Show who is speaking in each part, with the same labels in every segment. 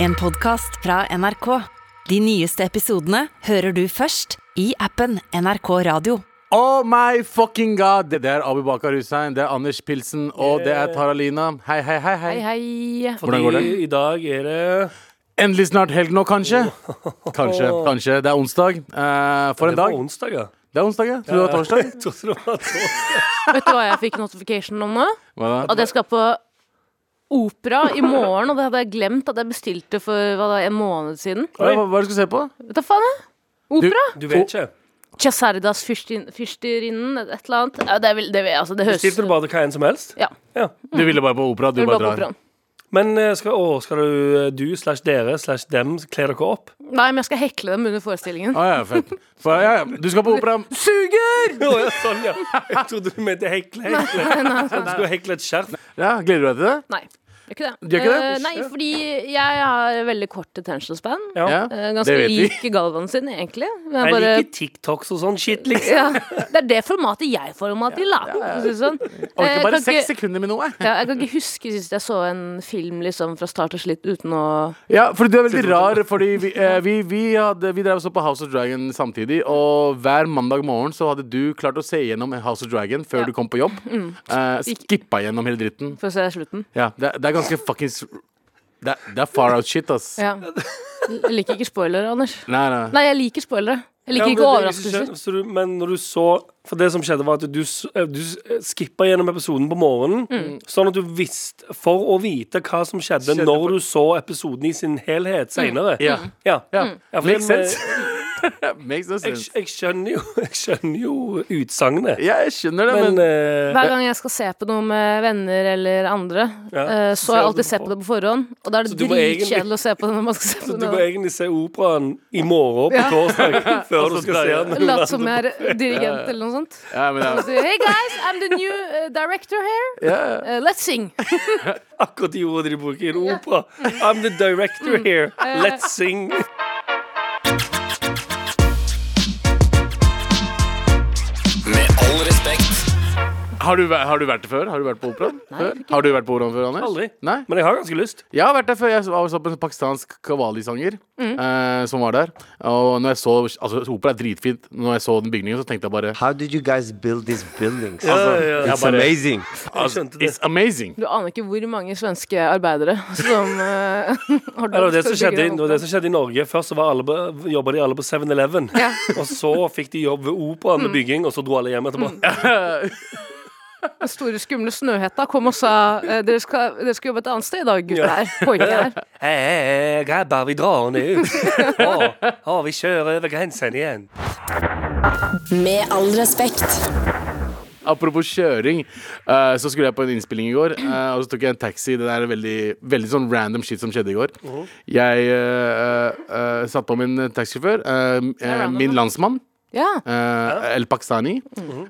Speaker 1: En podcast fra NRK. De nyeste episodene hører du først i appen NRK Radio.
Speaker 2: Oh my fucking god! Det er Abu Bakar Hussein, det er Anders Pilsen, og det er Taralina. Hei, hei, hei. hei. Hvordan går det?
Speaker 3: I dag er det
Speaker 2: Endelig snart helg nå, kanskje? Kanskje. kanskje. Det er onsdag. Eh, for
Speaker 3: Det
Speaker 2: en dag.
Speaker 3: var onsdag, ja.
Speaker 2: Det er onsdag, ja. Tror du det var torsdag?
Speaker 3: Jeg trodde det var torsdag.
Speaker 4: Vet du hva jeg fikk notification om nå?
Speaker 2: Hva da?
Speaker 4: At jeg skal på opera i morgen, og det hadde jeg glemt at jeg bestilte for hva da, en måned siden.
Speaker 2: Hva, hva, hva er det du skal se på?
Speaker 4: Vet du faen, jeg? Opera?
Speaker 3: Du vet ikke.
Speaker 4: Chasardas fyrstin- fyrstirinnen, et et eller annet. Ja, det, vil, det, vil, jeg, altså, det høres
Speaker 3: Stilte du bare hva enn som helst?
Speaker 4: Ja.
Speaker 3: ja.
Speaker 2: Du ville bare på opera, du
Speaker 4: Jeg vil
Speaker 2: bare
Speaker 4: bare på
Speaker 2: drar.
Speaker 4: operaen.
Speaker 3: Men eh, skal, å, skal du, eh, du slash dere slash dem kle dere opp?
Speaker 4: Nei, men jeg skal hekle dem under forestillingen.
Speaker 2: Å ja, fett. For, ja, ja. Du skal på opera. Ah. Suger!
Speaker 3: Å ja, sånn, ja. Jeg trodde du mente hekle. hekle. Du skulle hekle et skjerf.
Speaker 2: Ja, Gleder du deg til det?
Speaker 4: Nei. Gjør ikke det.
Speaker 2: Gjør ikke det?
Speaker 4: Eh, nei, fordi jeg har veldig kort attention span.
Speaker 2: Ja,
Speaker 4: Eh,
Speaker 2: det
Speaker 4: ganske
Speaker 2: vet vi.
Speaker 4: lik Galvan sin, egentlig. Men
Speaker 3: Jeg
Speaker 4: bare-
Speaker 3: liker TikToks og sånn shit, liksom.
Speaker 4: ja, Det er det formatet jeg får meg til, da. for å si det Sånn. Eh,
Speaker 2: Orker bare
Speaker 4: kan ikke-
Speaker 2: seks sekunder med noe.
Speaker 4: Ja, jeg kan ikke huske sist jeg så en film liksom, fra start til slutt uten å
Speaker 2: Ja, for du er veldig rar, fordi vi, eh, vi, vi, hadde, vi drev og så på House of Dragon samtidig, og hver mandag morgen så hadde du klart å se gjennom House of Dragon før
Speaker 4: Ja. Mm.
Speaker 2: du kom på jobb. Eh, skippa gjennom hele dritten.
Speaker 4: For å se slutten.
Speaker 2: Ja, det, er- det er ganske fuckings det, er- det er far out shit, ass.
Speaker 4: Ja. Jeg liker ikke spoilere, Anders.
Speaker 2: Nei, nei.
Speaker 4: Nei, jeg liker spoilere. Jeg
Speaker 3: Ja,
Speaker 4: liker
Speaker 3: men
Speaker 4: ikke
Speaker 3: det- hvis du
Speaker 4: overraskelser.
Speaker 3: skjønner- så du- Men når du så For det som skjedde, var at du, s- eh, du skippa gjennom episoden på morgenen,
Speaker 4: Mm.
Speaker 3: sånn at du visste For å vite hva som skjedde,
Speaker 2: Skjedde
Speaker 3: når du så episoden i sin
Speaker 4: Mm.
Speaker 3: helhet seinere.
Speaker 2: Ja.
Speaker 3: Ja.
Speaker 2: Ja.
Speaker 3: Ja, for
Speaker 2: Makes
Speaker 3: det-
Speaker 2: sense. Makes no
Speaker 3: Jeg,
Speaker 2: sense.
Speaker 3: jeg skjønner jo Jeg skjønner jo utsagnet,
Speaker 2: Ja, jeg skjønner det, men,
Speaker 3: men eh,
Speaker 4: Hver gang jeg skal se på noe med venner eller andre,
Speaker 3: Ja,
Speaker 4: eh,
Speaker 3: så
Speaker 4: så har jeg
Speaker 3: ser du
Speaker 4: alltid sett
Speaker 3: på.
Speaker 4: på det på forhånd. Og da er det
Speaker 3: du må egentlig-
Speaker 4: dritkjedelig å se på det når man skal se
Speaker 3: så
Speaker 4: på
Speaker 3: du må
Speaker 4: det.
Speaker 3: egentlig se operaen i morgen på torsdag
Speaker 2: Altså,
Speaker 3: før du skal se
Speaker 2: dreier-
Speaker 3: den.
Speaker 4: Late som jeg er dirigent eller noe sånt.
Speaker 3: eh,
Speaker 2: ja, men ja.
Speaker 4: Så, hey guys, I'm the new eh, director here. Eh, let's sing.
Speaker 3: Akkurat de ordene de bruker i en opera. I'm the
Speaker 4: Mm.
Speaker 3: director here. Let's sing.
Speaker 5: Med all respekt.
Speaker 2: Har, du, væ- har du vært der før? Har du vært på operaen? Før? Har du vært på operaen før, Anders?
Speaker 3: Aldri.
Speaker 2: Nei?
Speaker 3: Men jeg har ganske lyst.
Speaker 2: Jeg har vært der før. Jeg var og så på en pakistansk kawali-sanger
Speaker 4: Mm.
Speaker 2: eh, som var der. Og når jeg så Altså, opera er dritfint. Når jeg så den bygningen, så tenkte jeg bare
Speaker 6: How did you guys build these buildings?
Speaker 3: ja,
Speaker 6: It's amazing.
Speaker 2: altså,
Speaker 3: skjønte det.
Speaker 2: It's amazing!
Speaker 4: Du aner ikke hvor mange svenske arbeidere som eh, har
Speaker 3: Ja, det, var det, som
Speaker 4: skal
Speaker 3: skjedde,
Speaker 4: bygge
Speaker 3: i- det var det som skjedde i Norge. Først så var alle, på- jobba de alle på 7-Eleven.
Speaker 4: Ja.
Speaker 3: Og så fikk de jobb ved Operaen
Speaker 2: Mm.
Speaker 3: med bygging, og så dro alle hjem etterpå.
Speaker 4: Den store, skumle Snøhetta kom og sa eh, dere skal, dere skal jobbe et annet sted i dag, gutter. Poenget er
Speaker 3: Hei, hei, hei, grabber, vi drar nå. Å, å, vi kjører over grensen igjen.
Speaker 1: Med all respekt.
Speaker 2: Apropos kjøring, eh, så skulle jeg på en innspilling i går, eh, og så tok jeg en taxi. Det der er veldig, veldig sånn random shit som skjedde i går.
Speaker 4: Mhm.
Speaker 2: Jeg eh, eh, satt på min taxisjåfør, eh, eh,
Speaker 4: random,
Speaker 2: min
Speaker 4: da.
Speaker 2: landsmann,
Speaker 4: Ja.
Speaker 2: eh, El Pakistani.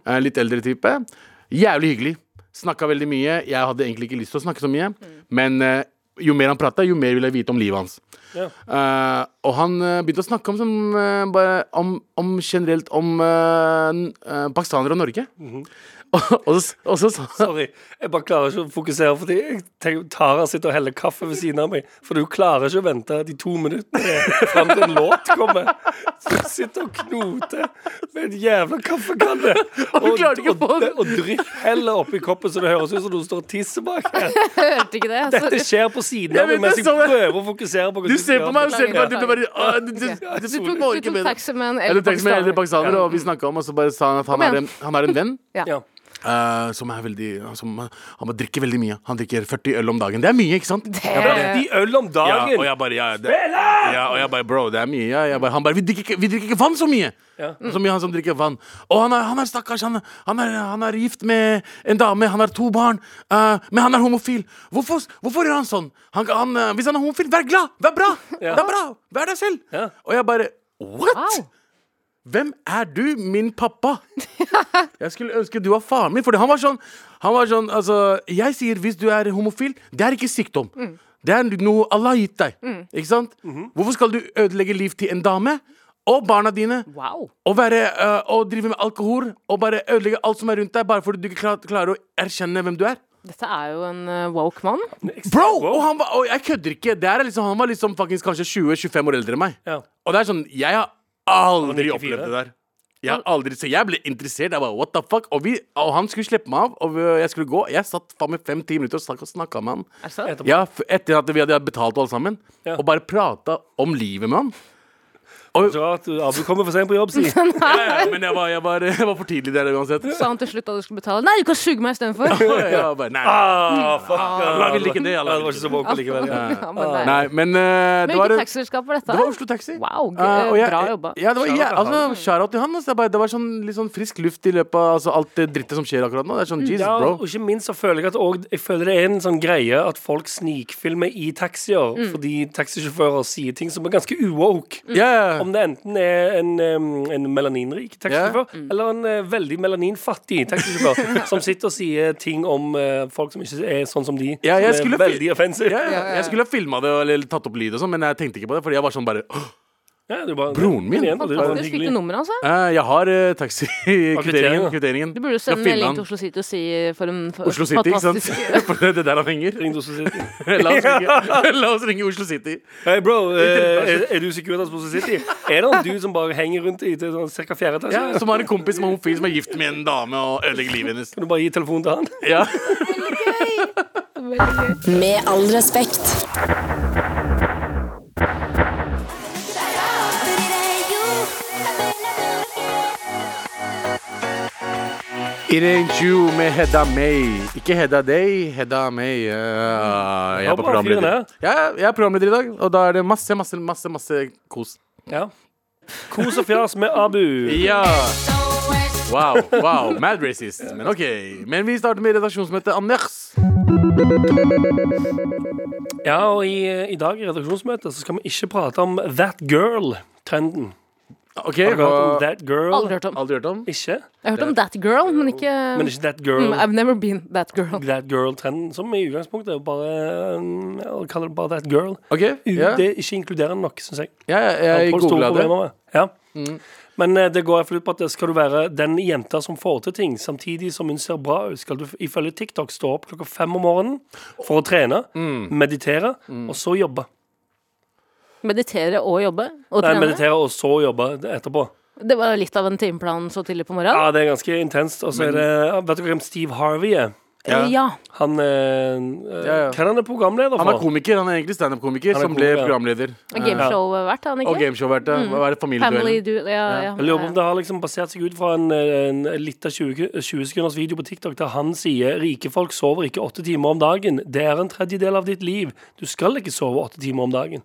Speaker 2: eh, litt eldre type. Jævlig hyggelig. Snakka veldig mye. Jeg hadde egentlig ikke lyst til å snakke så mye, men eh, jo mer han prata, jo mer ville jeg vite om livet hans.
Speaker 3: Ja.
Speaker 2: Eh, og han eh, begynte å snakke om, som, eh, bare, om, om generelt om eh, n- eh, pakistanere og Norge. og, og, så- og så sa han
Speaker 3: Sorry. Jeg bare klarer ikke å fokusere, fordi jeg tenker, Tara sitter og heller kaffe ved siden av meg. For du klarer ikke å vente de to minuttene fram til en låt kommer. Så du sitter og knoter med en jævla kaffekanne. Og,
Speaker 2: klarer ikke å
Speaker 3: og,
Speaker 2: få
Speaker 3: og,
Speaker 2: den.
Speaker 3: og drypp heller oppi koppen, så det høres ut som du står og tisser bak her.
Speaker 4: Hørte ikke det?
Speaker 3: Dette
Speaker 4: Sorry.
Speaker 3: skjer på siden
Speaker 2: Jeg
Speaker 3: av meg
Speaker 2: vet,
Speaker 3: mens
Speaker 2: jeg
Speaker 3: jeg
Speaker 2: så det.
Speaker 3: prøver å fokusere på hva
Speaker 2: Du ser på meg og ser på meg,
Speaker 4: Beklager.
Speaker 2: du blir bare ah, du- du-
Speaker 4: Ok.
Speaker 2: du-
Speaker 4: Du
Speaker 2: du
Speaker 4: tok-
Speaker 2: må
Speaker 4: du
Speaker 2: ikke
Speaker 4: tok
Speaker 2: med det.
Speaker 4: taxi med en
Speaker 2: Jeg
Speaker 4: eldre
Speaker 2: tok taxi med en eldre
Speaker 4: pakistaner.
Speaker 2: pakistaner, og vi snakka om og så bare sa han at han
Speaker 4: Kom
Speaker 2: er
Speaker 4: igjen.
Speaker 2: en, han er en venn.
Speaker 4: Ja.
Speaker 3: Ja.
Speaker 2: eh, som er veldig som, Han bare drikker veldig mye. Han drikker 40 øl om dagen. Det er mye, ikke sant? Jeg bare,
Speaker 3: De øl om
Speaker 2: Ja, og
Speaker 3: dagen!
Speaker 2: jeg bare, ja, det, ja, og jeg bare Bro, det er mye. Ja. Jeg bare, han bare vi drikker, ikke- 'Vi drikker ikke vann så mye!' Mm.
Speaker 3: Ja.
Speaker 2: Så mye han som drikker vann. Og han er, han er stakkars. Han, han, er, han er gift med en dame, han har to barn, eh, men han er homofil. Hvorfor, hvorfor gjør han sånn? Han, han, eh, hvis han er homofil, vær glad! Vær bra!
Speaker 3: Ja.
Speaker 2: Vær bra! Vær deg selv!
Speaker 3: Ja.
Speaker 2: Og jeg bare What?!
Speaker 4: Eh, Wow.
Speaker 2: Hvem er du, min pappa? Jeg skulle ønske du var faren min. Fordi han var sånn, han var sånn altså, Jeg sier hvis du er homofil, det er ikke sykdom. Det er noe Allah har gitt deg. Ikke sant? Hvorfor skal du ødelegge liv til en dame og barna dine?
Speaker 4: Wow.
Speaker 2: Og, være, øh, og drive med alkohol og bare ødelegge alt som er rundt deg, bare fordi du ikke klar, klarer å erkjenne hvem du er?
Speaker 4: Dette er jo en eh, woke mann.
Speaker 2: Bro! Og, han var, og jeg kødder ikke. Det her er liksom, han var liksom faktisk kanskje 20-25 år eldre enn meg.
Speaker 3: Ja.
Speaker 2: Og det er sånn, jeg har aldri
Speaker 3: Han er 94.
Speaker 2: opplevd det der. Jeg har aldri, så jeg ble interessert. Jeg bare, what the fuck Og, vi, og han skulle slippe meg av, og øh, jeg skulle gå. Jeg satt faen meg fem-ti minutter og snak- og snakka med han.
Speaker 4: Er det sant?
Speaker 2: Ja, f- Etter at vi hadde betalt alle sammen.
Speaker 3: Ja.
Speaker 2: Og bare prata om livet med han.
Speaker 3: Så rart du, Abu kommer for sent på jobb, si.
Speaker 2: Ja, ja, men jeg var, jeg, var, jeg var for tidlig der uansett.
Speaker 4: Sa han til slutt at du skulle betale? Nei, du kan suge meg istedenfor!
Speaker 2: Ja, bare, nei,
Speaker 3: Ah, fuck.
Speaker 2: la vel ikke det, la
Speaker 3: Ja,
Speaker 2: vel
Speaker 3: det
Speaker 2: ikke
Speaker 3: var ikke så woke likevel. Ja.
Speaker 4: Ja, men det er-
Speaker 2: nei, men øh, det
Speaker 4: Men
Speaker 2: var
Speaker 4: hvilket
Speaker 2: en-
Speaker 4: taxiselskap var dette?
Speaker 2: Det var Oslo Taxi.
Speaker 4: Wow, gøy.
Speaker 2: Eh, og
Speaker 4: Bra jobba.
Speaker 2: Ja, det var,
Speaker 3: Shout-out
Speaker 2: ja,
Speaker 3: til
Speaker 2: altså, Shout-out til han. Altså, det, er bare, det var sånn, litt sånn frisk luft i løpet av altså, alt det drittet som skjer akkurat nå. Det er sånn,
Speaker 4: Mm.
Speaker 2: Jesus,
Speaker 3: Ja, og
Speaker 2: bro.
Speaker 3: ikke minst så føler jeg at og, Jeg føler det er en sånn greie at folk snikfilmer i taxier
Speaker 2: Mm.
Speaker 3: fordi taxisjåfører sier ting som er ganske uwoke.
Speaker 2: Ja, ja.
Speaker 3: Om det enten er en, em, en melaninrik taxisjåfør eller en eh, veldig melaninfattig taxisjåfør som sitter og sier ting om eh, folk som ikke er sånn som de,
Speaker 2: Ja, jeg
Speaker 3: som
Speaker 2: skulle
Speaker 3: er veldig offensive.
Speaker 2: Ja, ja. Jeg skulle ha filma det eller tatt opp lyd, og sånn, men jeg tenkte ikke på det. Fordi jeg var sånn bare «Åh,
Speaker 3: Ja, det er bare,
Speaker 2: Broren min.
Speaker 3: Men igjen, det er bare
Speaker 4: Fantastisk. Fikk
Speaker 3: hyggelig.
Speaker 4: du nummeret hans? da?
Speaker 2: eh, Jeg har eh, taxikvitteringen.
Speaker 3: kvitteringen,
Speaker 2: Kvitteringen.
Speaker 4: Du burde
Speaker 2: Skal
Speaker 4: sende en
Speaker 2: filme
Speaker 4: melding
Speaker 2: han.
Speaker 4: til Oslo City og si for en for
Speaker 2: Oslo City, ikke sant?
Speaker 4: fantastisk
Speaker 2: For det er der han henger.
Speaker 3: Ring til Oslo City.
Speaker 2: La oss ringe, La oss ringe Oslo City.
Speaker 3: Hei, bro. eh, Er, er du Securitas på Oslo City? Er det en du som bare henger rundt i til sånn cirka fjerde etasje?
Speaker 2: Ja, som har en kompis som er homofil, som er gift med en dame og ødelegger livet hennes.
Speaker 3: Kan du bare gi telefonen til han?
Speaker 2: Ja.
Speaker 1: Med all respekt.
Speaker 2: It ain't you med Hedda May. Ikke Hedda Day, Hedda May. Eh, jeg,
Speaker 3: var
Speaker 2: er på
Speaker 3: bare fin,
Speaker 2: programleder.
Speaker 3: det.
Speaker 2: Ja, jeg er programleder i dag, og da er det masse, masse, masse masse kos.
Speaker 3: Ja. Kos og fjas med Abu.
Speaker 2: Ja! Wow, wow, mad racist. Men ok. Men vi starter med redaksjonsmøtet. Anders.
Speaker 3: Ja, og i, eh, i dag i redaksjonsmøtet så skal vi ikke prate om That Girl-trenden.
Speaker 2: Ok,
Speaker 3: Har du hørt om
Speaker 2: hva
Speaker 3: That Girl?
Speaker 4: Aldri hørt om.
Speaker 2: Aldri hørt om?
Speaker 3: Ikke?
Speaker 4: Jeg har hørt om That Girl, men ikke,
Speaker 3: Men ikke That
Speaker 4: Mm,
Speaker 3: Girl.
Speaker 4: I've never been that girl.
Speaker 3: That Girl-trenden, som i utgangspunktet er bare mm, ja, Kaller det bare That Girl.
Speaker 2: Ok, ja.
Speaker 3: Det er ikke inkluderende nok, syns jeg.
Speaker 2: ja jeg
Speaker 3: Folk har store
Speaker 2: googla det. Mm.
Speaker 3: problemer med. Ja. Men eh, det går i hvert fall ut på at skal du være den jenta som får til ting, samtidig som hun ser bra ut, skal du ifølge TikTok stå opp klokka fem om morgenen for å trene,
Speaker 2: Mm.
Speaker 3: meditere, og så jobbe.
Speaker 4: Meditere og jobbe og
Speaker 3: Nei,
Speaker 4: trene.
Speaker 3: meditere og så jobbe etterpå.
Speaker 4: Det var litt av en timeplan så tidlig på
Speaker 3: Ja,
Speaker 4: morgenen.
Speaker 3: det er ganske intenst. Og så er det ja, Vet dere hvem Steve Harvey er?
Speaker 4: Ja. ja.
Speaker 3: Han eh, eh,
Speaker 2: Ja, ja.
Speaker 3: Hva er han er programleder for?
Speaker 2: Han er komiker, han er egentlig standup-komiker
Speaker 3: Han er
Speaker 2: som ble
Speaker 3: komiker, ja.
Speaker 2: programleder.
Speaker 4: Gameshow-vert, er han
Speaker 2: Og
Speaker 4: ikke?
Speaker 2: gameshow-vert. ja. Hva er det?
Speaker 4: Mm. Family
Speaker 2: Familieduell.
Speaker 4: du... Ja, ja.
Speaker 3: Jeg lurer på om det har liksom basert seg ut fra en, eh, en liten 20, 20 sekunders video på TikTok der han sier rike folk sover ikke åtte timer om dagen. Det er en tredjedel av ditt liv. Du skal ikke sove åtte timer om dagen.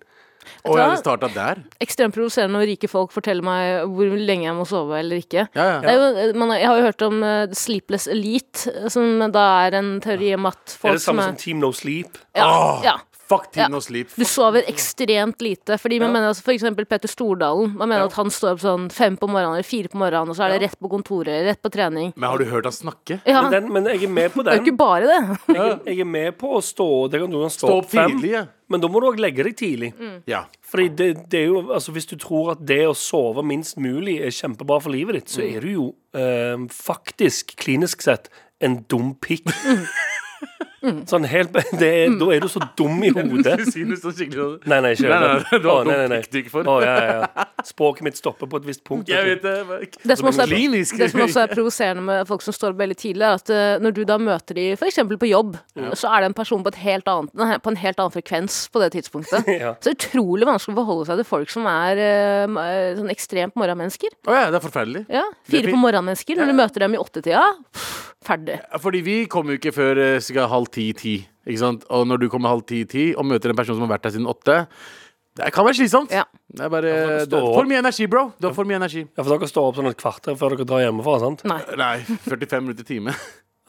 Speaker 2: Å ja, det starta der.
Speaker 4: ekstremt provoserende når rike folk forteller meg hvor lenge jeg må sove eller ikke.
Speaker 2: Ja, ja.
Speaker 4: Det er jo, man, har- jeg har jo hørt om eh, Sleepless Elite, som da er en teori om at
Speaker 3: Det
Speaker 4: folk
Speaker 3: er det samme
Speaker 4: som
Speaker 3: som Ah! Team No Sleep.
Speaker 4: ja, ja.
Speaker 2: Fuck
Speaker 4: Ja.
Speaker 2: Tiden og Sleep.
Speaker 4: Du sover ekstremt lite, fordi man mener altså for eksempel Peter Stordalen. Man mener
Speaker 3: Ja.
Speaker 4: at han står opp sånn fem på morgenen eller fire på morgenen, og så er det rett på kontoret, rett på trening.
Speaker 2: Men har du hørt han snakke?
Speaker 4: Ja,
Speaker 3: Men,
Speaker 4: det
Speaker 3: den, men jeg er med på
Speaker 4: er jo
Speaker 3: den.
Speaker 4: ikke bare det.
Speaker 3: Jeg, jeg er med på å stå det kan, Du kan stå,
Speaker 2: Stå opp
Speaker 3: opp fem,
Speaker 2: tidlig, ja.
Speaker 3: men da må du òg legge deg tidlig.
Speaker 2: Ja.
Speaker 3: Fordi det, det er jo, altså Hvis du tror at det å sove minst mulig er kjempebra for livet ditt,
Speaker 2: Mm.
Speaker 3: så er du jo eh, faktisk, klinisk sett, en dum pikk.
Speaker 2: Mm.
Speaker 3: Sånn helt, det er, da er du så dum i hodet.
Speaker 2: Du sier det så skikkelig sånn.
Speaker 3: Nei, nei, ikke
Speaker 2: Nei, nei, nei, du har
Speaker 3: Å, nei, nei,
Speaker 2: dum
Speaker 3: nei.
Speaker 2: pikk du ikke får.
Speaker 3: Å, ja, ja, ja. Språket mitt stopper på et visst punkt.
Speaker 2: Jeg
Speaker 3: vet
Speaker 2: vet
Speaker 3: du.
Speaker 2: det.
Speaker 4: Det som, også er,
Speaker 2: Klinisk.
Speaker 4: det som også er provoserende med folk som står opp veldig tidlig, er at eh, når du da møter de f.eks. på jobb, så er det en person på, et helt annet, på en helt annen frekvens på det tidspunktet.
Speaker 3: Ja.
Speaker 4: Så det er utrolig vanskelig å forholde seg til folk som er eh, m- eh, sånn ekstremt morgenmennesker.
Speaker 2: Å ja, det er forferdelig.
Speaker 4: Ja,
Speaker 2: Det er
Speaker 4: Fire
Speaker 2: fint.
Speaker 4: på morgenmennesker. Når du møter dem i åttetida, pff, ferdig.
Speaker 2: Fordi vi kommer jo ikke før eh, cirka halv ti-ti. Ikke sant? Og når du kommer halv ti-ti og møter en person som har vært her siden åtte Det kan være slitsomt.
Speaker 4: Ja.
Speaker 2: Det er bare
Speaker 3: Ja, for
Speaker 2: du
Speaker 3: det
Speaker 2: har
Speaker 3: står-
Speaker 2: For mye energi, bro. Du har for mye energi.
Speaker 3: Ja, for dere står opp sånn et kvarter før dere drar hjemmefra, sant?
Speaker 4: Nei.
Speaker 2: Nei, 45 minutter i time.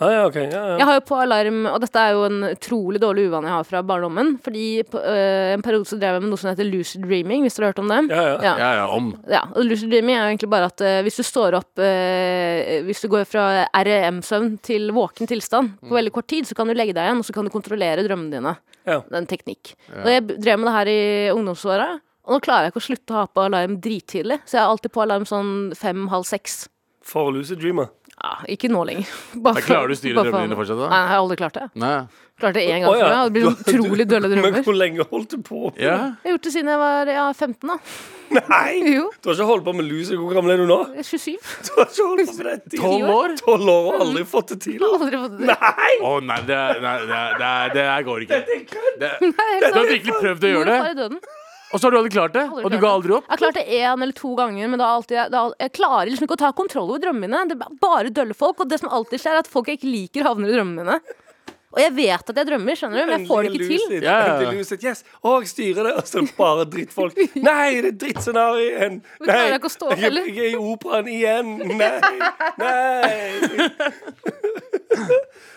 Speaker 3: Ja, ja, ok. Ja, ja.
Speaker 4: Jeg har jo på alarm, og dette er jo en utrolig dårlig uvane jeg har fra barndommen. Fordi på, øh, en periode så drev jeg med noe som heter lucid dreaming, hvis dere har hørt om det.
Speaker 3: Ja, ja.
Speaker 4: Ja.
Speaker 2: Ja, ja, om.
Speaker 4: Ja, og lucid dreaming er jo egentlig bare at eh, hvis du står opp eh, Hvis du går fra REM-søvn til våken tilstand
Speaker 2: Mm.
Speaker 4: på veldig kort tid, så kan du legge deg igjen, og så kan du kontrollere drømmene dine.
Speaker 3: Ja.
Speaker 4: Det er en teknikk. Og jeg b- drev med det her i ungdomsåra, og nå klarer jeg ikke å slutte å ha på alarm drittidlig, så jeg har alltid på alarm sånn fem-halv seks.
Speaker 3: For lucid dreamer.
Speaker 4: Ja, ikke nå lenger. Bare
Speaker 2: Men
Speaker 4: for-
Speaker 2: klarer du å styre
Speaker 4: bare for-
Speaker 2: drømmene dine fortsatt, da?
Speaker 4: Nei, jeg har aldri klart det.
Speaker 2: Nei.
Speaker 4: Klarte det én gang
Speaker 3: Å, ja.
Speaker 4: før. ja. Det blir sånn utrolig dølle drømmer.
Speaker 3: Men hvor lenge holdt du på? med
Speaker 2: Ja?
Speaker 4: Jeg har gjort det siden jeg var ja, 15, da.
Speaker 3: Nei!
Speaker 4: Jo,
Speaker 3: Du har ikke holdt på med lus i hvor gammel er du nå?
Speaker 4: jeg er 27.
Speaker 3: Du har ikke holdt på med det i
Speaker 2: 12 år?
Speaker 3: 12 år og aldri fått det til.
Speaker 4: Aldri fått det.
Speaker 2: Å nei, det, er- nei, det, er- det, er- det her går ikke. Det,
Speaker 4: Nei,
Speaker 2: du har virkelig prøvd å
Speaker 4: Mor og
Speaker 2: gjøre
Speaker 4: far
Speaker 2: det,
Speaker 4: i døden.
Speaker 2: og så har du aldri klart det? Og du ga aldri opp?
Speaker 4: Jeg har klart det én eller to ganger, men da har alltid, da, har- jeg klarer liksom ikke å ta kontroll over drømmene mine. Det er bare dølle folk, og det som alltid skjer, er at folk jeg ikke liker, havner i drømmene mine. Og jeg vet at jeg drømmer, skjønner du, men jeg får det ikke til.
Speaker 2: Ja, ja.
Speaker 3: Endelig lucid. Yes. Å, jeg styrer det. Og så er det bare drittfolk. Nei, det er drittscenario igjen.
Speaker 4: Men
Speaker 3: Nei,
Speaker 4: klarer jeg ikke å stå opp, eller?
Speaker 3: jeg er i operaen igjen. Nei, nei.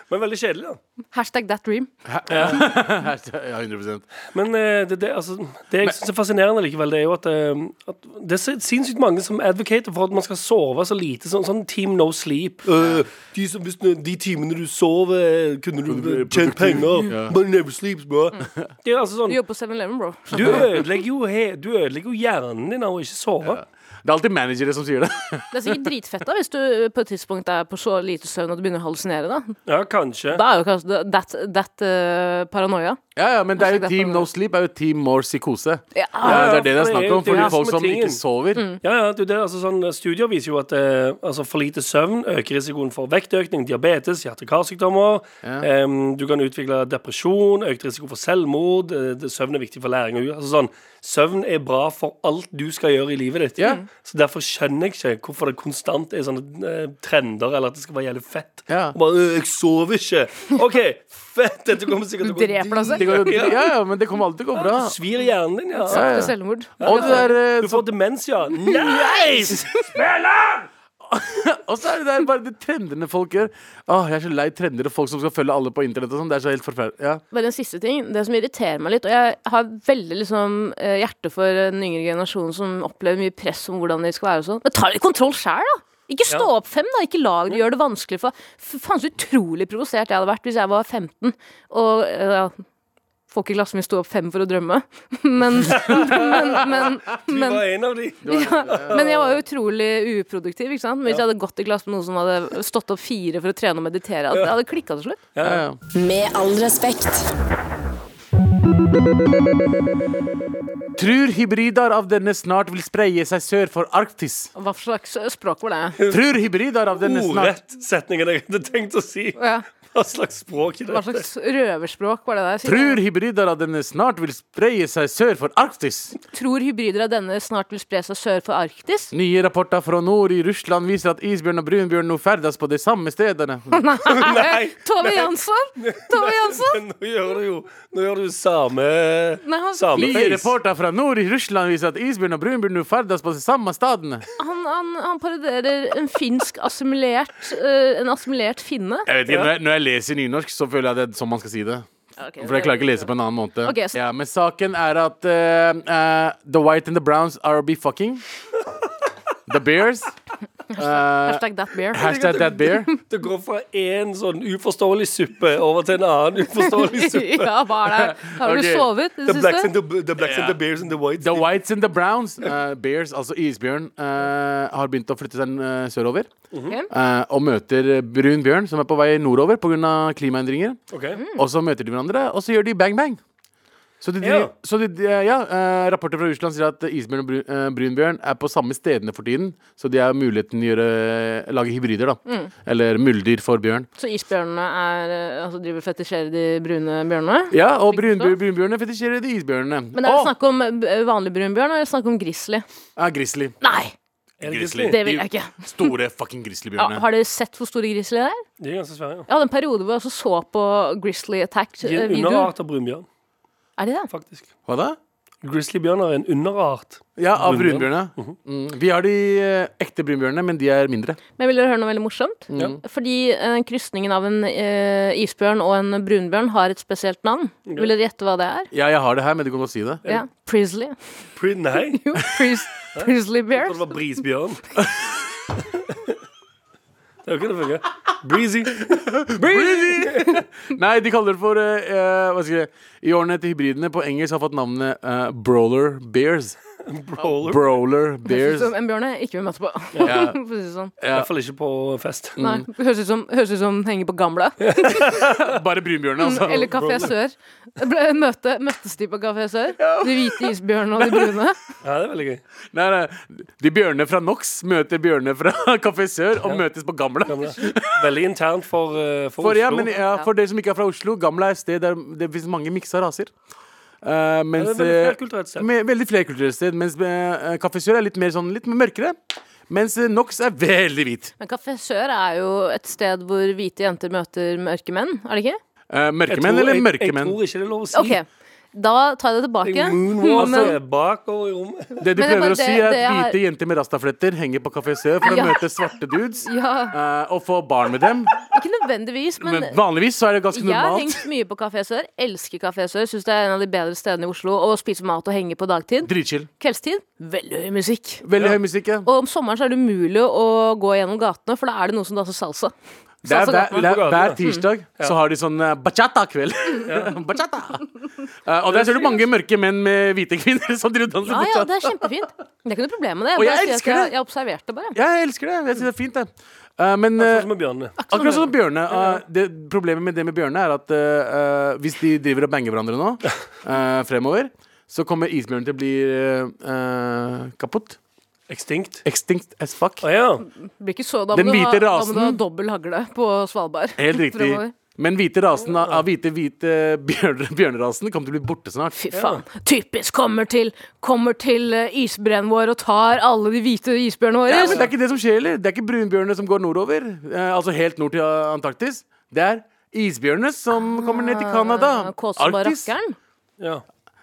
Speaker 3: Men veldig kjedelig, da.
Speaker 4: Hashtag that dream.
Speaker 2: Ja, 100
Speaker 3: Men eh, det, det, altså, det jeg syns er fascinerende likevel, det er jo at, eh, at det er så sinnssykt mange som advocater for at man skal sove så lite. Sånn, sånn Team No Sleep. Eh, de, som, hvis, du- de timene du sover, eh, kunne du eh, tjent penger. But never sleeps, bro. Det er altså
Speaker 4: Du
Speaker 3: sånn
Speaker 4: jobber på 7-Eleven, bro.
Speaker 3: Du ødelegger jo, he, du ødelegger jo hjernen din av å ikke sove.
Speaker 2: Det er alltid managere som sier det.
Speaker 4: Det er sikkert dritfett da, hvis du på et tidspunkt er på så lite søvn at du begynner å hallusinere. Da
Speaker 3: Ja, kanskje.
Speaker 4: Da er jo kanskje that, that eh, paranoia.
Speaker 2: Ja, ja, men det er jo
Speaker 4: Kanskje
Speaker 2: Team
Speaker 4: derfor-
Speaker 2: No Sleep er jo Team More Psykose.
Speaker 4: Ja.
Speaker 2: Ja, Mm. det er det det er
Speaker 3: for det er
Speaker 2: snakk om.
Speaker 3: jo- det er jo
Speaker 2: Fordi
Speaker 3: det
Speaker 2: folk
Speaker 3: som er
Speaker 2: som ikke
Speaker 3: tingen.
Speaker 2: sover.
Speaker 3: Ja, ja, det, er det, altså, sånn, studier viser jo at eh, altså, for lite søvn øker risikoen for vektøkning, diabetes, hjerte-karsykdommer. Em, du kan utvikle depresjon, økt risiko for selvmord. eh, det, søvn er viktig for læring. og- Altså, sånn, søvn er bra for alt du skal gjøre i livet ditt.
Speaker 2: Ja.
Speaker 3: Så derfor skjønner jeg ikke hvorfor det konstant er sånne eh, trender, eller at det skal være jævlig fett.
Speaker 2: Ja.
Speaker 3: Og bare, «Øh, jeg sover ikke. OK, fett. Dette kommer sikkert
Speaker 4: Du dreper deg selv.
Speaker 2: Det går, jo-
Speaker 3: Ja.
Speaker 2: ja, ja, men det kommer alltid til å gå bra.
Speaker 3: Du svir hjernen din, ja.
Speaker 2: Ja, ja.
Speaker 4: Til selvmord.
Speaker 2: Og det der, eh,
Speaker 3: Du
Speaker 2: så-
Speaker 3: får demens, ja. Nice!
Speaker 2: og så er det der bare de trendene folk gjør. Åh, jeg er så lei trender og folk som skal følge alle på internett og sånn. Det er så helt forferdelig. Ja.
Speaker 4: Bare en siste ting. Det som irriterer meg litt, og jeg har veldig liksom eh, hjerte for den yngre generasjonen som opplever mye press om hvordan de skal være og sånn, men ta litt kontroll sjæl, da! Ikke stå
Speaker 3: Ja.
Speaker 4: opp fem, da! Ikke lag det, gjør det vanskelig for F- Faen så utrolig provosert jeg hadde vært hvis jeg var 15 og eh, ja, Folk i klassen min sto opp fem for å drømme, men, men, men,
Speaker 3: Du
Speaker 4: men
Speaker 3: var en av de.
Speaker 4: ja, men jeg var jo utrolig uproduktiv. ikke sant? Men Hvis jeg hadde gått i klasse med noen som hadde stått opp fire for å trene og meditere, hadde- jeg hadde klikka til slutt.
Speaker 2: Ja, ja.
Speaker 1: Med all respekt.
Speaker 2: Tror hybrider av denne snart vil spreie seg sør for Arktis.
Speaker 4: Hva slags språk var det?
Speaker 2: Tror hybrider av denne snart
Speaker 3: Ordrett setningen jeg hadde tenkt å si.
Speaker 4: Ja.
Speaker 3: Hva slags språk er
Speaker 4: Hva
Speaker 3: dette?
Speaker 4: slags røverspråk var det der? Sikkert-
Speaker 2: Tror hybrider av denne snart vil spreie seg sør for Arktis.
Speaker 4: Tror hybrider av denne snart vil spre seg sør for Arktis?
Speaker 2: Nye rapporter fra nord i Russland viser at isbjørn og brunbjørn nå ferdes på de samme stedene.
Speaker 3: Nei!
Speaker 4: Tove Eh, Jansson! Tove Jansson!
Speaker 3: Men nå gjør du jo Nå gjør du same
Speaker 4: Nei,
Speaker 2: Nye
Speaker 4: han-
Speaker 3: sameface.
Speaker 2: rapporter fra nord i Russland viser at isbjørn og brunbjørn nå ferdes på de samme stedene.
Speaker 4: Han, han, han parodierer en finsk assimilert eh, En assimilert finne.
Speaker 2: Jeg vet ikke, når jeg, når jeg leser nynorsk, så føler jeg det er sånn man skal si det.
Speaker 4: Okay,
Speaker 2: For jeg klarer ikke å lese på en annen måte.
Speaker 4: Ok, så-
Speaker 2: ja, men saken er at eh, eh, The White and the Browns are be fucking. The Bears. eh,
Speaker 4: Hashtag that bear.
Speaker 2: hashtag that bear.
Speaker 3: Det går fra én sånn uforståelig suppe over til en annen uforståelig suppe.
Speaker 4: ja, hva er det? Har du
Speaker 2: Ok.
Speaker 4: sovet i
Speaker 3: The
Speaker 4: det
Speaker 3: blacks, and
Speaker 4: siste?
Speaker 3: the, the blacks and the bears and the whites.
Speaker 2: The Whites and the Browns, eh, Bears, altså isbjørn, eh, har begynt å flytte seg eh, sørover. eh, og møter brun bjørn, som er på vei nordover pga. klimaendringer.
Speaker 3: Ok.
Speaker 4: Mm.
Speaker 2: Og så møter de hverandre, og så gjør de bang-bang. Så, de, driver-
Speaker 3: Ja.
Speaker 2: så de, de- ja, eh, Rapporter fra Russland sier at isbjørn og bru- eh, brunbjørn er på samme stedene for tiden. Så de har muligheten til å gjøre, lage hybrider. da
Speaker 4: Mm.
Speaker 2: Eller muldyr for bjørn.
Speaker 4: Så isbjørnene er, eh, altså driver og fetisjerer de brune bjørnene?
Speaker 2: Ja, Og brun,
Speaker 4: Riktig.
Speaker 2: brunbjørnene fetisjerer de isbjørnene.
Speaker 4: Men er det
Speaker 2: Å,
Speaker 4: snakk om eh, vanlig brunbjørn, eller er det snakk om grizzly?
Speaker 2: ja, grizzly.
Speaker 4: Nei,
Speaker 3: Er det
Speaker 2: Grizzly.
Speaker 3: grizzly?
Speaker 4: det vil jeg ikke.
Speaker 2: Store fucking
Speaker 4: Ja,
Speaker 2: grizzlybjørnene.
Speaker 4: har dere sett hvor store grizzly det er?
Speaker 3: De er ganske svære, ja.
Speaker 4: Jeg hadde en periode hvor jeg også så på Grizzly
Speaker 3: De er en
Speaker 4: Attack-videoer.
Speaker 3: underart av brunbjørn,
Speaker 4: Er de det?
Speaker 3: faktisk.
Speaker 2: Hva da?
Speaker 3: Grizzlybjørner er en underart.
Speaker 2: Ja, av
Speaker 3: Brunbjørn. Mhm.
Speaker 2: brunbjørnene. mm. Vi har de eh, ekte brunbjørnene, men de er mindre.
Speaker 4: Men vil dere høre noe veldig morsomt? Fordi eh, krysningen av en eh, isbjørn og en brunbjørn har et spesielt navn. Vil dere gjette hva det er?
Speaker 2: Ja, jeg har det her, men du kan godt si det.
Speaker 4: Ja, Prisley.
Speaker 3: Pri- Nei, jeg
Speaker 4: Jo, pris, Prisley
Speaker 3: trodde
Speaker 4: Bears.
Speaker 3: det var brisbjørn. Det er jo ikke det funker. Breezy.
Speaker 2: Nei, de kaller det for eh, eh, Hva skal jeg si I årene etter hybridene på engelsk har fått navnet eh, brawler bears.
Speaker 4: Oh,
Speaker 3: Brawler.
Speaker 2: Brawler,
Speaker 4: Høres ut
Speaker 2: bears
Speaker 4: som en bjørn jeg ikke vil møte på.
Speaker 2: Ja.
Speaker 4: For å si det sånn.
Speaker 3: I hvert fall ikke på fest.
Speaker 4: Nei, høres ut som, høres ut som henger på gamle.
Speaker 2: Bare brunbjørnene, altså.
Speaker 4: Eller Kafé
Speaker 2: Brawler.
Speaker 4: Sør. Ble, møte, møttes de på Kafé Sør? De hvite isbjørnene og de brune?
Speaker 3: Ja, det er veldig gøy.
Speaker 2: Nei, nei. De bjørnene fra Nox møter bjørnene fra Kafé Sør og møtes på Gamla.
Speaker 3: Gamle. Veldig internt for, eh, for,
Speaker 2: For, ja,
Speaker 3: Oslo.
Speaker 2: men, ja, for dere som ikke er fra Oslo, Gamla er et sted der det finnes mange miksa raser. Eh, mens,
Speaker 3: Ja, det er veldig
Speaker 2: eh,
Speaker 3: flerkulturelt sted.
Speaker 2: Med, veldig flerkulturelt sted. Mens uh, Kafé Sør er litt mer sånn, litt mørkere. Mens eh, Nox er veldig hvit.
Speaker 4: Men Kafé Sør er jo et sted hvor hvite jenter møter mørke menn, er det ikke?
Speaker 2: Eh,
Speaker 3: Jeg
Speaker 2: mørke
Speaker 3: tror-
Speaker 2: menn eller
Speaker 3: jeg-
Speaker 2: mørke menn?
Speaker 3: Jeg tror ikke det er lov å si.
Speaker 4: OK, da tar jeg det tilbake.
Speaker 3: Moonwalk
Speaker 4: Men-
Speaker 3: altså, bakover i rommet.
Speaker 2: Det du
Speaker 4: Men det
Speaker 2: prøver
Speaker 4: var
Speaker 2: å si,
Speaker 4: det-
Speaker 2: er at
Speaker 4: det jeg har-
Speaker 2: hvite jenter med rastafletter henger på Kafé Sør for å
Speaker 4: Ja.
Speaker 2: møte svarte dudes
Speaker 4: Ja,
Speaker 2: eh, og få barn med dem.
Speaker 4: ikke nødvendigvis, men,
Speaker 2: Men vanligvis så er det ganske
Speaker 4: jeg har
Speaker 2: normalt.
Speaker 4: hengt mye på Kafé Sør. Elsker Kafé Sør. Syns det er en av de bedre stedene i Oslo å spise mat og henge på dagtid.
Speaker 2: Dritchill.
Speaker 4: Kveldstid veldig høy musikk.
Speaker 2: Veldig høy musikk. Ja.
Speaker 4: Og om sommeren så er det umulig å gå gjennom gatene, for da er det noen som danser salsa.
Speaker 2: Det er
Speaker 4: Salsa
Speaker 2: hver,
Speaker 4: Gatene.
Speaker 2: det er
Speaker 3: Ute
Speaker 2: hver
Speaker 3: på gaten,
Speaker 2: tirsdag så har de sånn eh, bachata-kveld. bachata! Eh, og der ser du mange mørke menn med hvite kvinner som driver og danser
Speaker 4: Ja, ja,
Speaker 2: bachata.
Speaker 4: det er kjempefint. Det er ikke noe problem med det.
Speaker 2: Og jeg
Speaker 4: Bare si at
Speaker 2: elsker det.
Speaker 4: Jeg observerte det bare.
Speaker 2: Jeg elsker det. Jeg synes det er fint, det. Eh, men eh,
Speaker 3: Sånn som med bjørnene.
Speaker 2: akkurat som bjørne eh, det, Problemet med det med bjørne er at eh, eh, hvis de driver og banger hverandre nå, eh, fremover, så kommer isbjørnen til å bli eh, eh, kaputt.
Speaker 3: Extinct.
Speaker 2: Extinct as fuck.
Speaker 3: Å ja.
Speaker 4: Det blir ikke så, da må
Speaker 2: Den
Speaker 4: du ha-
Speaker 2: hvite
Speaker 4: Da må
Speaker 2: rasen.
Speaker 4: du ha dobbel hagle på Svalbard.
Speaker 2: Helt riktig.
Speaker 4: Fremover.
Speaker 2: Men hvite rasen av, av hvite, hvite bjørn, bjørnerasen kommer til å bli borte snart.
Speaker 4: Fy faen. Typisk kommer til, kommer til eh, isbreen vår og tar alle de hvite isbjørnene våre.
Speaker 2: Ja, men det er ikke det som skjer heller. Det er ikke brunbjørnene som går nordover, eh, altså helt nord til eh, Antarktis. Det er isbjørnene som kommer ned til Canada.
Speaker 4: Arktis.
Speaker 2: Arktis?
Speaker 3: ja.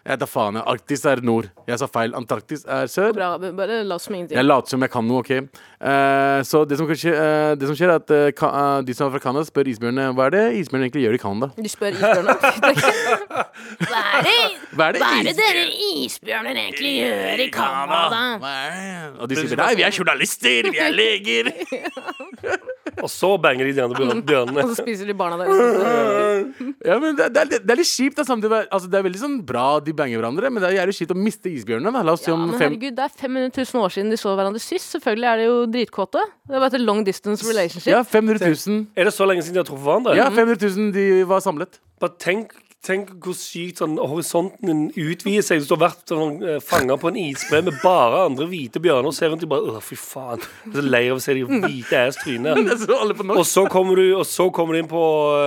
Speaker 2: Ja, da faen. ja. Arktis er nord. Jeg sa feil. Antarktis er sør.
Speaker 4: Bra, bare la oss som ingenting.
Speaker 2: Jeg later som jeg kan noe, OK? Eh, så det som, kan skje, eh, det som skjer, er at eh, ka- eh, de som er fra Canada, spør isbjørnene hva er det isbjørnene egentlig gjør i Canada.
Speaker 4: De spør isbjørnene. Det er ikke- Hva
Speaker 2: Hva er
Speaker 4: er det-
Speaker 2: det
Speaker 4: hva er det
Speaker 2: is-
Speaker 4: dere isbjørner egentlig gjør i Canada? sånn."
Speaker 2: Hva er det? Og de sier nei, vi er journalister, vi er leger.
Speaker 3: Og så banger de de andre bjørn- bjørnene.
Speaker 4: Og så spiser de barna deres.
Speaker 2: Ja, men det, det, er, litt- det er litt kjipt. Da, samtidig, altså, det er veldig sånn bra de banger hverandre, men det er jævlig kjipt å miste isbjørnene. Da. La oss si
Speaker 4: Ja,
Speaker 2: om
Speaker 4: men
Speaker 2: fem
Speaker 4: herregud, det er 500 000 år siden de så hverandre sist. Selvfølgelig er de jo dritkåte. Det er bare et long distance relationship.
Speaker 2: Ja, 500 000.
Speaker 3: Er det så lenge siden de har truffet hverandre?
Speaker 2: Ja, 500 000 de var samlet.
Speaker 3: Bare tenk, tenk hvor sykt sånn, horisonten din utvider seg. Hvis du har vært sånn, eh, fanget på en isbre med bare andre hvite bjørner og ser rundt og bare Å, fy faen. Jeg er så lei av å se de hvite ass trynene.
Speaker 2: Det så alle på
Speaker 3: Og
Speaker 2: norsk.
Speaker 3: så kommer du, og så kommer du inn på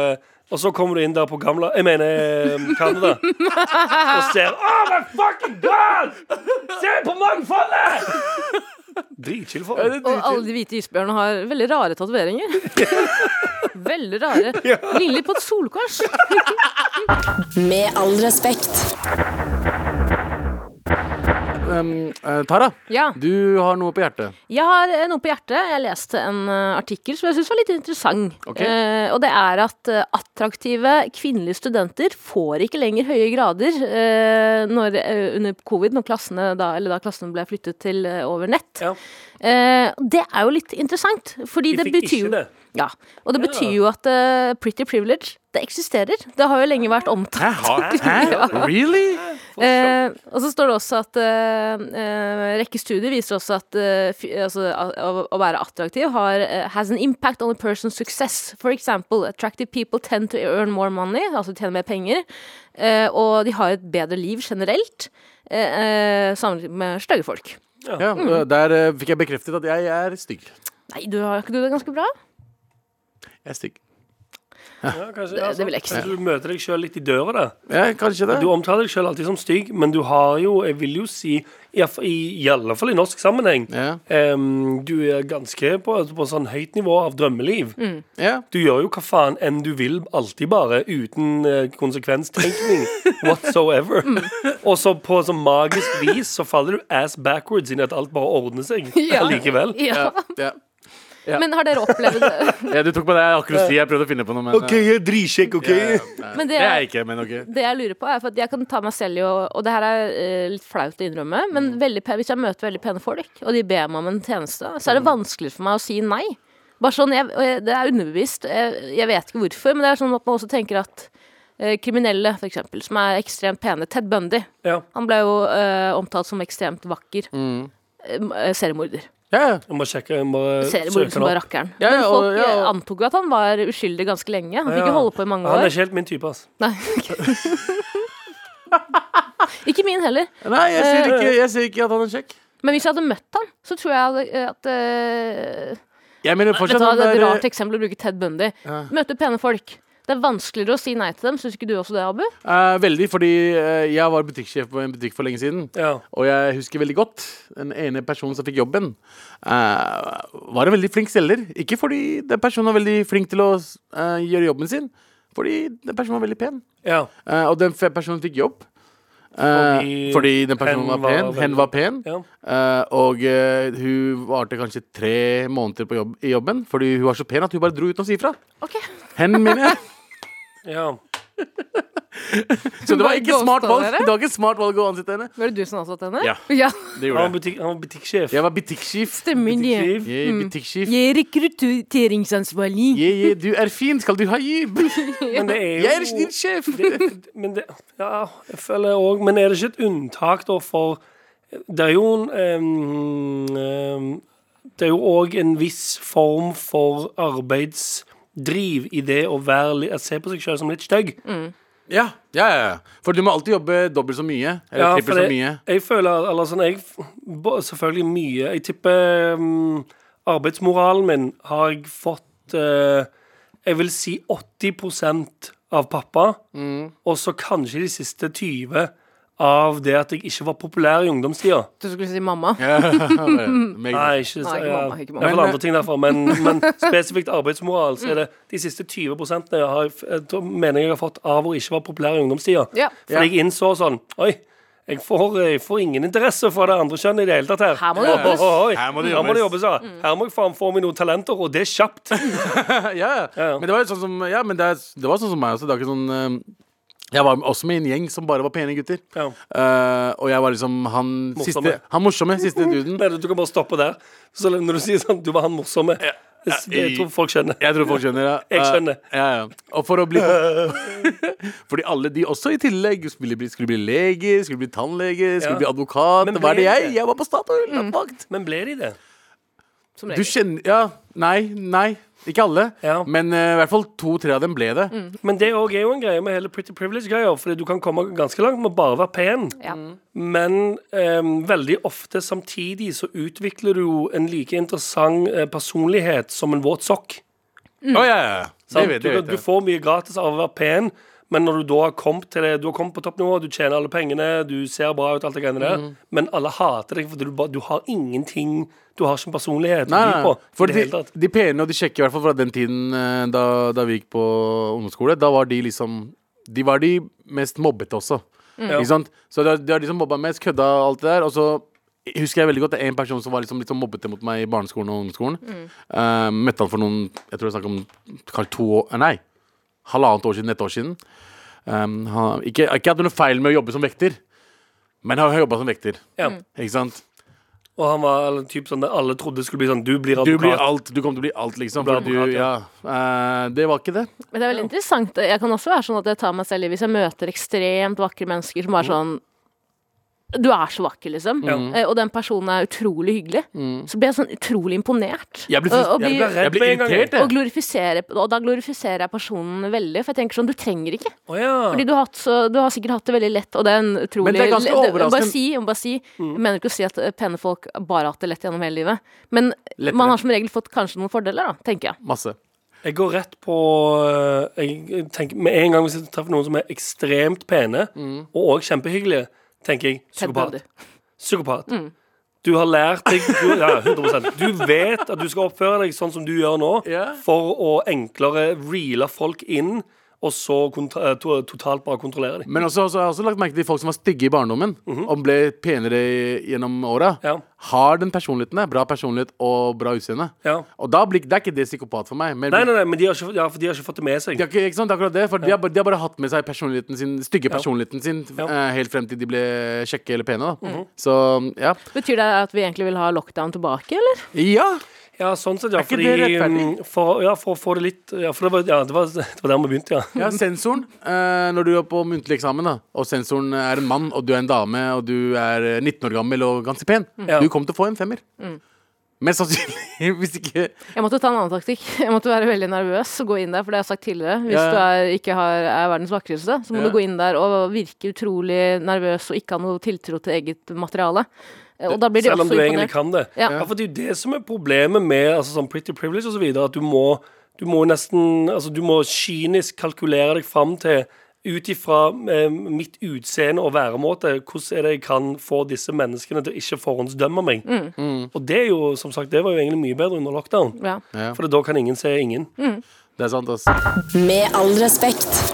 Speaker 3: eh, og så kommer du inn der på gamla Jeg mener eh, Canada. Og ser Oh my fucking god! Se på mangfoldet! Dritchill for
Speaker 2: Ja,
Speaker 3: meg.
Speaker 2: det
Speaker 4: Og alle
Speaker 2: driter-
Speaker 4: de hvite isbjørnene har veldig rare tatoveringer. Veldig rare. Ligner litt på et solkors.
Speaker 1: Med all respekt.
Speaker 2: Um, eh, Tara,
Speaker 4: Ja.
Speaker 2: du har noe på hjertet.
Speaker 4: Jeg har eh, noe på hjertet. Jeg leste en eh, artikkel som jeg syns var litt interessant.
Speaker 2: Ok.
Speaker 4: Eh, og det er at eh, attraktive kvinnelige studenter får ikke lenger høye grader eh, når, eh, under covid, når klassene da, eller da klassene ble flyttet til eh, over nett.
Speaker 3: Ja.
Speaker 4: Eh, det er jo litt interessant, fordi
Speaker 3: De
Speaker 4: det
Speaker 3: fikk
Speaker 4: betyr
Speaker 3: ikke det.
Speaker 4: Ja, og det betyr jo at eh, pretty privilege, det eksisterer. Det har jo lenge vært omtalt.
Speaker 2: Hæ? Hæ? Really?
Speaker 4: Eh, og så står det også at eh, eh, rekke studier viser også at eh, fy- altså, å, å være attraktiv har, eh, has an impact on a person's success. For example, attractive people tend to earn more money, altså tjene mer penger, eh, og de har et bedre liv generelt. eh, eh, Sammenlignet med stygge folk.
Speaker 2: Ja, eh, der eh, fikk jeg bekreftet at jeg er stygg.
Speaker 4: Nei, du har ikke du det ganske bra?
Speaker 2: Jeg er stygg.
Speaker 3: Ja, kanskje,
Speaker 4: Det-
Speaker 3: ja,
Speaker 4: det vil jeg ikke
Speaker 3: sant.
Speaker 4: si.
Speaker 3: Du møter deg sjøl litt i døra, da.
Speaker 2: Ja, kanskje det.
Speaker 3: Du omtaler deg selv alltid som stygg, men du har jo, jeg vil jo si, i, hvert fall- i, i alle fall i norsk sammenheng,
Speaker 2: Ja.
Speaker 3: em, du er ganske på, på sånn høyt nivå av drømmeliv.
Speaker 2: Ja.
Speaker 3: Du gjør jo hva faen enn du vil, alltid bare, uten eh, konsekvenstenkning whatsoever.
Speaker 4: Mm.
Speaker 3: Og så på sånn magisk vis så faller du ass backwards inn i at alt bare ordner seg allikevel.
Speaker 4: Ja.
Speaker 2: Ja.
Speaker 4: Men har dere opplevd det?
Speaker 2: ja, du tok på det jeg akkurat si. Jeg prøvde å finne på noe, men eh,
Speaker 3: jeg er dritsjekk, OK?
Speaker 4: Men
Speaker 2: Det
Speaker 4: det,
Speaker 2: er jeg ikke, men OK.
Speaker 4: det jeg lurer på er for at Jeg kan ta meg selv i å Og det her er eh, litt flaut å innrømme, men veldig pe- hvis jeg møter veldig pene folk, og de ber meg om en tjeneste, så er det vanskelig for meg å si nei. Bare sånn, jeg, og jeg, Det er underbevisst. Jeg, jeg vet ikke hvorfor, men det er sånn at man også tenker at eh, kriminelle, for eksempel, som er ekstremt pene. Ted Bundy.
Speaker 3: Ja.
Speaker 4: Han ble jo eh, omtalt som ekstremt vakker. Eh, m- eh, seriemorder.
Speaker 2: Ja, ja.
Speaker 3: Jeg må sjekke. Jeg må eh,
Speaker 4: Seriemorder
Speaker 3: søke
Speaker 4: som liksom bare
Speaker 3: den opp.
Speaker 4: rakkeren.
Speaker 2: Ja, ja,
Speaker 4: Men
Speaker 2: og-
Speaker 4: folk
Speaker 2: ja, og-
Speaker 4: eh, antok jo at han var uskyldig ganske lenge. Han fikk
Speaker 3: Ja.
Speaker 4: jo holde på i mange
Speaker 3: Han er
Speaker 4: år.
Speaker 3: ikke helt min type, altså.
Speaker 4: Nei, ikke min heller.
Speaker 2: Nei, jeg sier, ikke, jeg sier ikke at han er kjekk.
Speaker 4: Men hvis jeg hadde møtt ham, så tror jeg hadde- eh, at eh,
Speaker 2: Jeg mener
Speaker 4: Vet
Speaker 2: fortsatt
Speaker 4: du hva,
Speaker 2: han
Speaker 4: Det er et
Speaker 2: der,
Speaker 4: rart eksempel å bruke Ted Bundy. Møte pene folk. Det er vanskeligere å si nei til dem. Syns ikke du også det, Abu?
Speaker 2: eh, Veldig, fordi eh, jeg var butikksjef på en butikk for lenge siden.
Speaker 3: Ja.
Speaker 2: Og jeg husker veldig godt den ene personen som fikk jobben, eh, var en veldig flink selger. Ikke fordi den personen var veldig flink til å eh, gjøre jobben sin, fordi den personen var veldig pen.
Speaker 3: ja.
Speaker 2: Eh, og den fe- personen fikk jobb. Eh,
Speaker 3: Fordi
Speaker 2: fordi, den personen
Speaker 3: hen
Speaker 2: var pen.
Speaker 3: var veldig-
Speaker 2: hen var pen.
Speaker 3: ja.
Speaker 2: Eh, og eh, hun varte kanskje tre måneder på jobb, i jobben fordi hun var så pen at hun bare dro uten å si ifra.
Speaker 4: Ok.
Speaker 2: Hen, mener jeg.
Speaker 3: ja.
Speaker 2: Så det var
Speaker 4: Bare
Speaker 2: ikke smart
Speaker 4: ghosta
Speaker 2: valg
Speaker 4: dere?
Speaker 2: Det var ikke smart valg å ansette henne.
Speaker 4: Var det du som ansatte henne?
Speaker 2: Ja.
Speaker 4: ja.
Speaker 2: Det
Speaker 3: Han var,
Speaker 2: gjorde jeg.
Speaker 3: butikk, han var butikksjef.
Speaker 2: Jeg var butikksjef.
Speaker 4: Stemmer det.
Speaker 3: Butikksjef.
Speaker 2: Jeg er butikksjef.
Speaker 4: Jeg er rekrutteringsansvarlig.
Speaker 2: Yeah, yeah, du er fin, skal du ha jobb?
Speaker 3: Men det er jo
Speaker 2: Jeg er din sjef!
Speaker 3: det, men det, ja, jeg føler òg Men er det ikke et unntak, da, for Det er jo en em, em, Det er jo òg en viss form for arbeidsdriv i det å være, li- å se på seg sjøl som litt stygg.
Speaker 2: Ja, ja, ja. For du må alltid jobbe dobbelt så mye. Eller
Speaker 3: for
Speaker 2: trippelt så
Speaker 3: det-
Speaker 2: mye.
Speaker 3: Jeg føler eller sånn, jeg, f- bo- Selvfølgelig mye. Jeg tipper mm, arbeidsmoralen min har jeg fått eh, Jeg vil si 80 av pappa,
Speaker 2: Mm.
Speaker 3: og så kanskje de siste 20 av det at jeg ikke var populær i ungdomstida.
Speaker 4: Du skulle si mamma.
Speaker 3: Nei, ikke,
Speaker 4: Nei, ikke
Speaker 3: ja.
Speaker 4: mamma, ikke mamma.
Speaker 3: Det er vel
Speaker 2: Men-
Speaker 3: andre ting derfor, men, men spesifikt arbeidsmoral. Så er
Speaker 4: Mm.
Speaker 3: det de siste 20 prosentene jeg har, jeg tror- mener jeg har fått av å ikke være populær i ungdomstida.
Speaker 4: Ja.
Speaker 3: For jeg innså sånn Oi, jeg får, jeg får ingen interesse fra det andre kjønnet i det hele tatt her.
Speaker 4: Her må det jobbes. Mm.
Speaker 3: Oi, oi, oi.
Speaker 2: Her må det
Speaker 3: Her må det
Speaker 2: jobbes.
Speaker 3: jobbes, ja. Her må jeg faen få meg noen talenter, og det er kjapt.
Speaker 2: ja, ja.
Speaker 3: ja.
Speaker 2: Men det var jo sånn som Ja, men det, er, det var sånn som meg også. Det var ikke sånn eh, Jeg var også med i en gjeng som bare var pene gutter.
Speaker 3: Ja.
Speaker 2: Eh, og jeg var liksom han
Speaker 3: Morsomme.
Speaker 2: siste Han morsomme, siste duden.
Speaker 3: Nei, du kan bare stoppe der. Så når du sier sånn Du var han morsomme.
Speaker 2: Ja,
Speaker 3: Jeg, jeg tror folk skjønner.
Speaker 2: Jeg tror folk skjønner, ja.
Speaker 3: Jeg skjønner.
Speaker 2: Eh, ja, ja. Og for å bli Fordi alle de også i tillegg skulle bli, skulle bli lege, skulle bli tannlege, skulle
Speaker 3: Ja.
Speaker 2: bli advokat.
Speaker 3: Men Mm.
Speaker 2: Hva er det
Speaker 3: ble
Speaker 2: jeg?
Speaker 3: det?
Speaker 2: Jeg var på Statoil! nattevakt.
Speaker 3: Men ble de det?
Speaker 4: Som
Speaker 2: Du
Speaker 4: regel.
Speaker 2: kjenner Ja, nei, nei. Ikke alle,
Speaker 3: Ja.
Speaker 2: men eh, i hvert fall to-tre av dem ble det.
Speaker 3: Men det òg er jo en greie med hele pretty privilege-greia. Fordi du kan komme ganske langt med bare å være pen.
Speaker 4: Ja.
Speaker 2: Mm.
Speaker 3: Men em, veldig ofte samtidig så utvikler du jo en like interessant eh, personlighet som en våt sokk.
Speaker 2: Å, ja, ja, ja. Det
Speaker 3: sant?
Speaker 2: vet,
Speaker 3: du,
Speaker 2: det
Speaker 3: kan-
Speaker 2: vet
Speaker 3: du
Speaker 2: jeg.
Speaker 3: får mye gratis av å være pen, men når du da har kommet til det Du har kommet på toppnivå, du tjener alle pengene, du ser bra ut, alt det
Speaker 2: Mhm.
Speaker 3: greiene der, men alle hater deg fordi du, bare- du har ingenting Du har ikke en personlighet
Speaker 2: Nei,
Speaker 3: å by
Speaker 2: nei,
Speaker 3: på.
Speaker 2: nei. For
Speaker 3: i
Speaker 2: de,
Speaker 3: det hele tatt.
Speaker 2: de pene og de kjekke, i hvert fall fra den tiden eh, da, da vi gikk på ungdomsskole, da var de liksom De var de mest mobbete også.
Speaker 3: Mm.
Speaker 2: Ikke sant? Så det var, det var de som mobba mest, kødda og alt det der. Og så husker jeg veldig godt det er en person som var liksom litt sånn mobbete mot meg i barneskolen og ungdomsskolen.
Speaker 3: Mm.
Speaker 2: Eh, møtte han for noen Jeg tror det er snakk om kanskje to år eh, Nei, halvannet år siden, et år siden. Um, han, ikke, ikke hadde noe feil med å jobbe som vekter, men han har jobba som vekter.
Speaker 3: Ja.
Speaker 2: Ikke sant?
Speaker 3: Og han var eller, typ sånn der alle trodde skulle bli sånn Du blir
Speaker 2: Du
Speaker 3: advokat.
Speaker 2: blir alt, du kommer til å bli alt, liksom.
Speaker 3: Du blir
Speaker 2: fordi du,
Speaker 3: advokat,
Speaker 2: ja.
Speaker 3: ja.
Speaker 2: Eh, det var ikke det.
Speaker 4: Men det er veldig interessant. Jeg kan også være sånn at jeg tar meg selv i hvis jeg møter ekstremt vakre mennesker som
Speaker 2: Mm.
Speaker 4: er sånn Du er så vakker, liksom. Eh, Og den personen er utrolig hyggelig. Så blir jeg sånn utrolig imponert.
Speaker 2: Mm. Jeg blir,
Speaker 4: Og- og
Speaker 2: jeg
Speaker 4: blir-
Speaker 2: blir, jeg blir
Speaker 3: med en gang,
Speaker 2: irritert,
Speaker 4: og,
Speaker 2: jeg.
Speaker 4: glorifiserer, og da glorifiserer jeg personen veldig, for jeg tenker sånn Du trenger ikke.
Speaker 3: Å ja.
Speaker 4: Fordi du har, hatt så, du har sikkert hatt det veldig lett, og det er en utrolig
Speaker 2: Men det er ganske
Speaker 4: le- det-
Speaker 2: overraskende. Mm.
Speaker 4: Bare si, jeg må bare si. Jeg mener ikke å si at eh, pene folk bare har hatt det lett gjennom hele livet, men man har som regel fått kanskje noen fordeler, da, tenker jeg.
Speaker 2: Masse.
Speaker 3: Jeg går rett på øh, jeg tenker, Med en gang hvis jeg treffer noen som er ekstremt pene,
Speaker 2: Mm.
Speaker 3: og også kjempehyggelige, tenker jeg
Speaker 4: Ted
Speaker 3: psykopat.
Speaker 4: Bundy.
Speaker 3: Psykopat.
Speaker 2: Mm.
Speaker 3: Du har lært deg du, Ja, 100 Du vet at du skal oppføre deg sånn som du gjør nå,
Speaker 2: Ja.
Speaker 3: for å enklere reele folk inn, og så kontra, eh, to, totalt bare kontrollere dem.
Speaker 2: Men også, også, jeg har også lagt merke til folk som var stygge i barndommen, og ble penere gjennom åra.
Speaker 3: Mhm. Ja.
Speaker 2: Har den personligheten der. Bra personlighet og bra utseende.
Speaker 3: Ja.
Speaker 2: Og da blir det er ikke det psykopat for meg. Men
Speaker 3: Nei, nei, nei, men de har ikke, ja, for de har ikke fått det med seg.
Speaker 2: De har ikke, ikke sant, det er akkurat det, for de, har, bare- de har bare hatt med seg personligheten sin, stygge
Speaker 3: Ja.
Speaker 2: personligheten sin
Speaker 3: Ja. Mhm.
Speaker 2: eh, helt frem til de ble kjekke eller pene. da Så ja.
Speaker 4: Betyr det at vi egentlig vil ha lockdown tilbake, eller?
Speaker 2: ja.
Speaker 3: Ja, sånn sett, ja.
Speaker 2: ikke det
Speaker 3: Fordi, mm, for, ja, for å få det litt Ja, for det var, ja, det var, det var der vi begynte, ja.
Speaker 2: Ja, sensoren. Eh, når du er på muntlig eksamen, da og sensoren er en mann, og du er en dame, og du er eh, 19 år gammel og ganske pen,
Speaker 3: Ja.
Speaker 2: du kommer til å få en femmer. Mest sannsynlig, hvis ikke
Speaker 4: Jeg måtte ta en annen taktikk. Jeg måtte være veldig nervøs og gå inn der, for det har jeg sagt tidligere. Hvis
Speaker 2: Ja.
Speaker 4: du er, ikke har, er verdens vakreste, så
Speaker 2: Ja.
Speaker 4: må du gå inn der og virke utrolig nervøs og ikke ha noe tiltro til eget materiale. Eh, Og da blir de
Speaker 3: Selv om
Speaker 4: også
Speaker 3: du egentlig
Speaker 4: imponert.
Speaker 3: kan det.
Speaker 4: Ja.
Speaker 3: Ja, for det er jo det som er problemet med altså, sånn pretty privilege og så videre, at du må, du må nesten altså, Du må kynisk kalkulere deg fram til ut ifra eh, mitt utseende og væremåte, hvordan er det jeg kan få disse menneskene til å ikke forhåndsdømme meg? Og det er jo, som sagt, det var jo egentlig mye bedre under lockdown.
Speaker 4: Mm. Ja. Mm.
Speaker 2: Ja.
Speaker 3: For da kan ingen se ingen.
Speaker 2: Det er sant, ass.
Speaker 7: Med all respekt.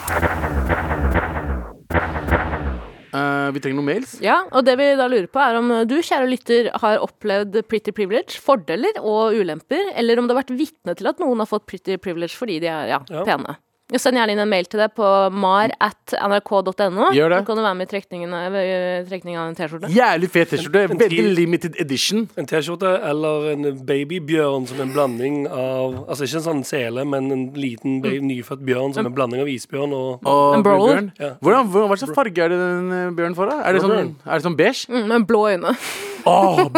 Speaker 2: Eh, vi trenger noen mails.
Speaker 4: ja, og det vi da lurer på, er om du, kjære lytter, har opplevd pretty privilege, fordeler og ulemper, eller om du har vært vitne til at noen har fått pretty privilege fordi de er ja,
Speaker 3: Ja.
Speaker 4: pene. Og Send gjerne inn en mail til deg på mar at nrk.no.
Speaker 2: Gjør det.
Speaker 4: Så kan du være med i trekningen av ved trekningen av en T-skjorte.
Speaker 2: Jævlig fet T-skjorte.
Speaker 3: En- en
Speaker 2: Veldig
Speaker 3: til-
Speaker 2: limited edition.
Speaker 3: En T-skjorte eller en babybjørn som en blanding av Altså ikke en sånn sele, men en liten ba-
Speaker 4: Mm.
Speaker 3: nyfødt bjørn som en blanding av isbjørn og
Speaker 2: Og
Speaker 4: En brawler.
Speaker 2: bjørn.
Speaker 3: Ja.
Speaker 2: Hvordan, hvordan, hva slags farge er det den eh, bjørnen får? da? Er det sånn, er det sånn beige? Åh,
Speaker 4: Mm, Med blå øyne.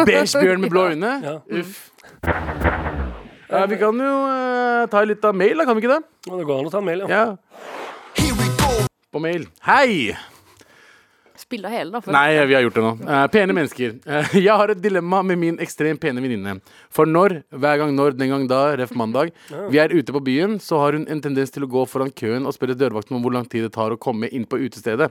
Speaker 2: beige bjørn med blå øyne?
Speaker 3: Ja.
Speaker 2: Uff. Eh, vi kan jo eh, ta litt av mail, da, kan vi ikke det?
Speaker 3: Ja, Det går an å ta en mail, ja.
Speaker 2: Ja. På mail. Hei!
Speaker 4: Spille hele, da. For.
Speaker 2: Nei, vi har gjort det nå. Eh, pene mennesker. Eh, jeg har et dilemma med min ekstremt pene venninne. For når, hver gang når, den gang da, ref mandag, vi er ute på byen, så har hun en tendens til å gå foran køen og spørre dørvakten om hvor lang tid det tar å komme inn på utestedet.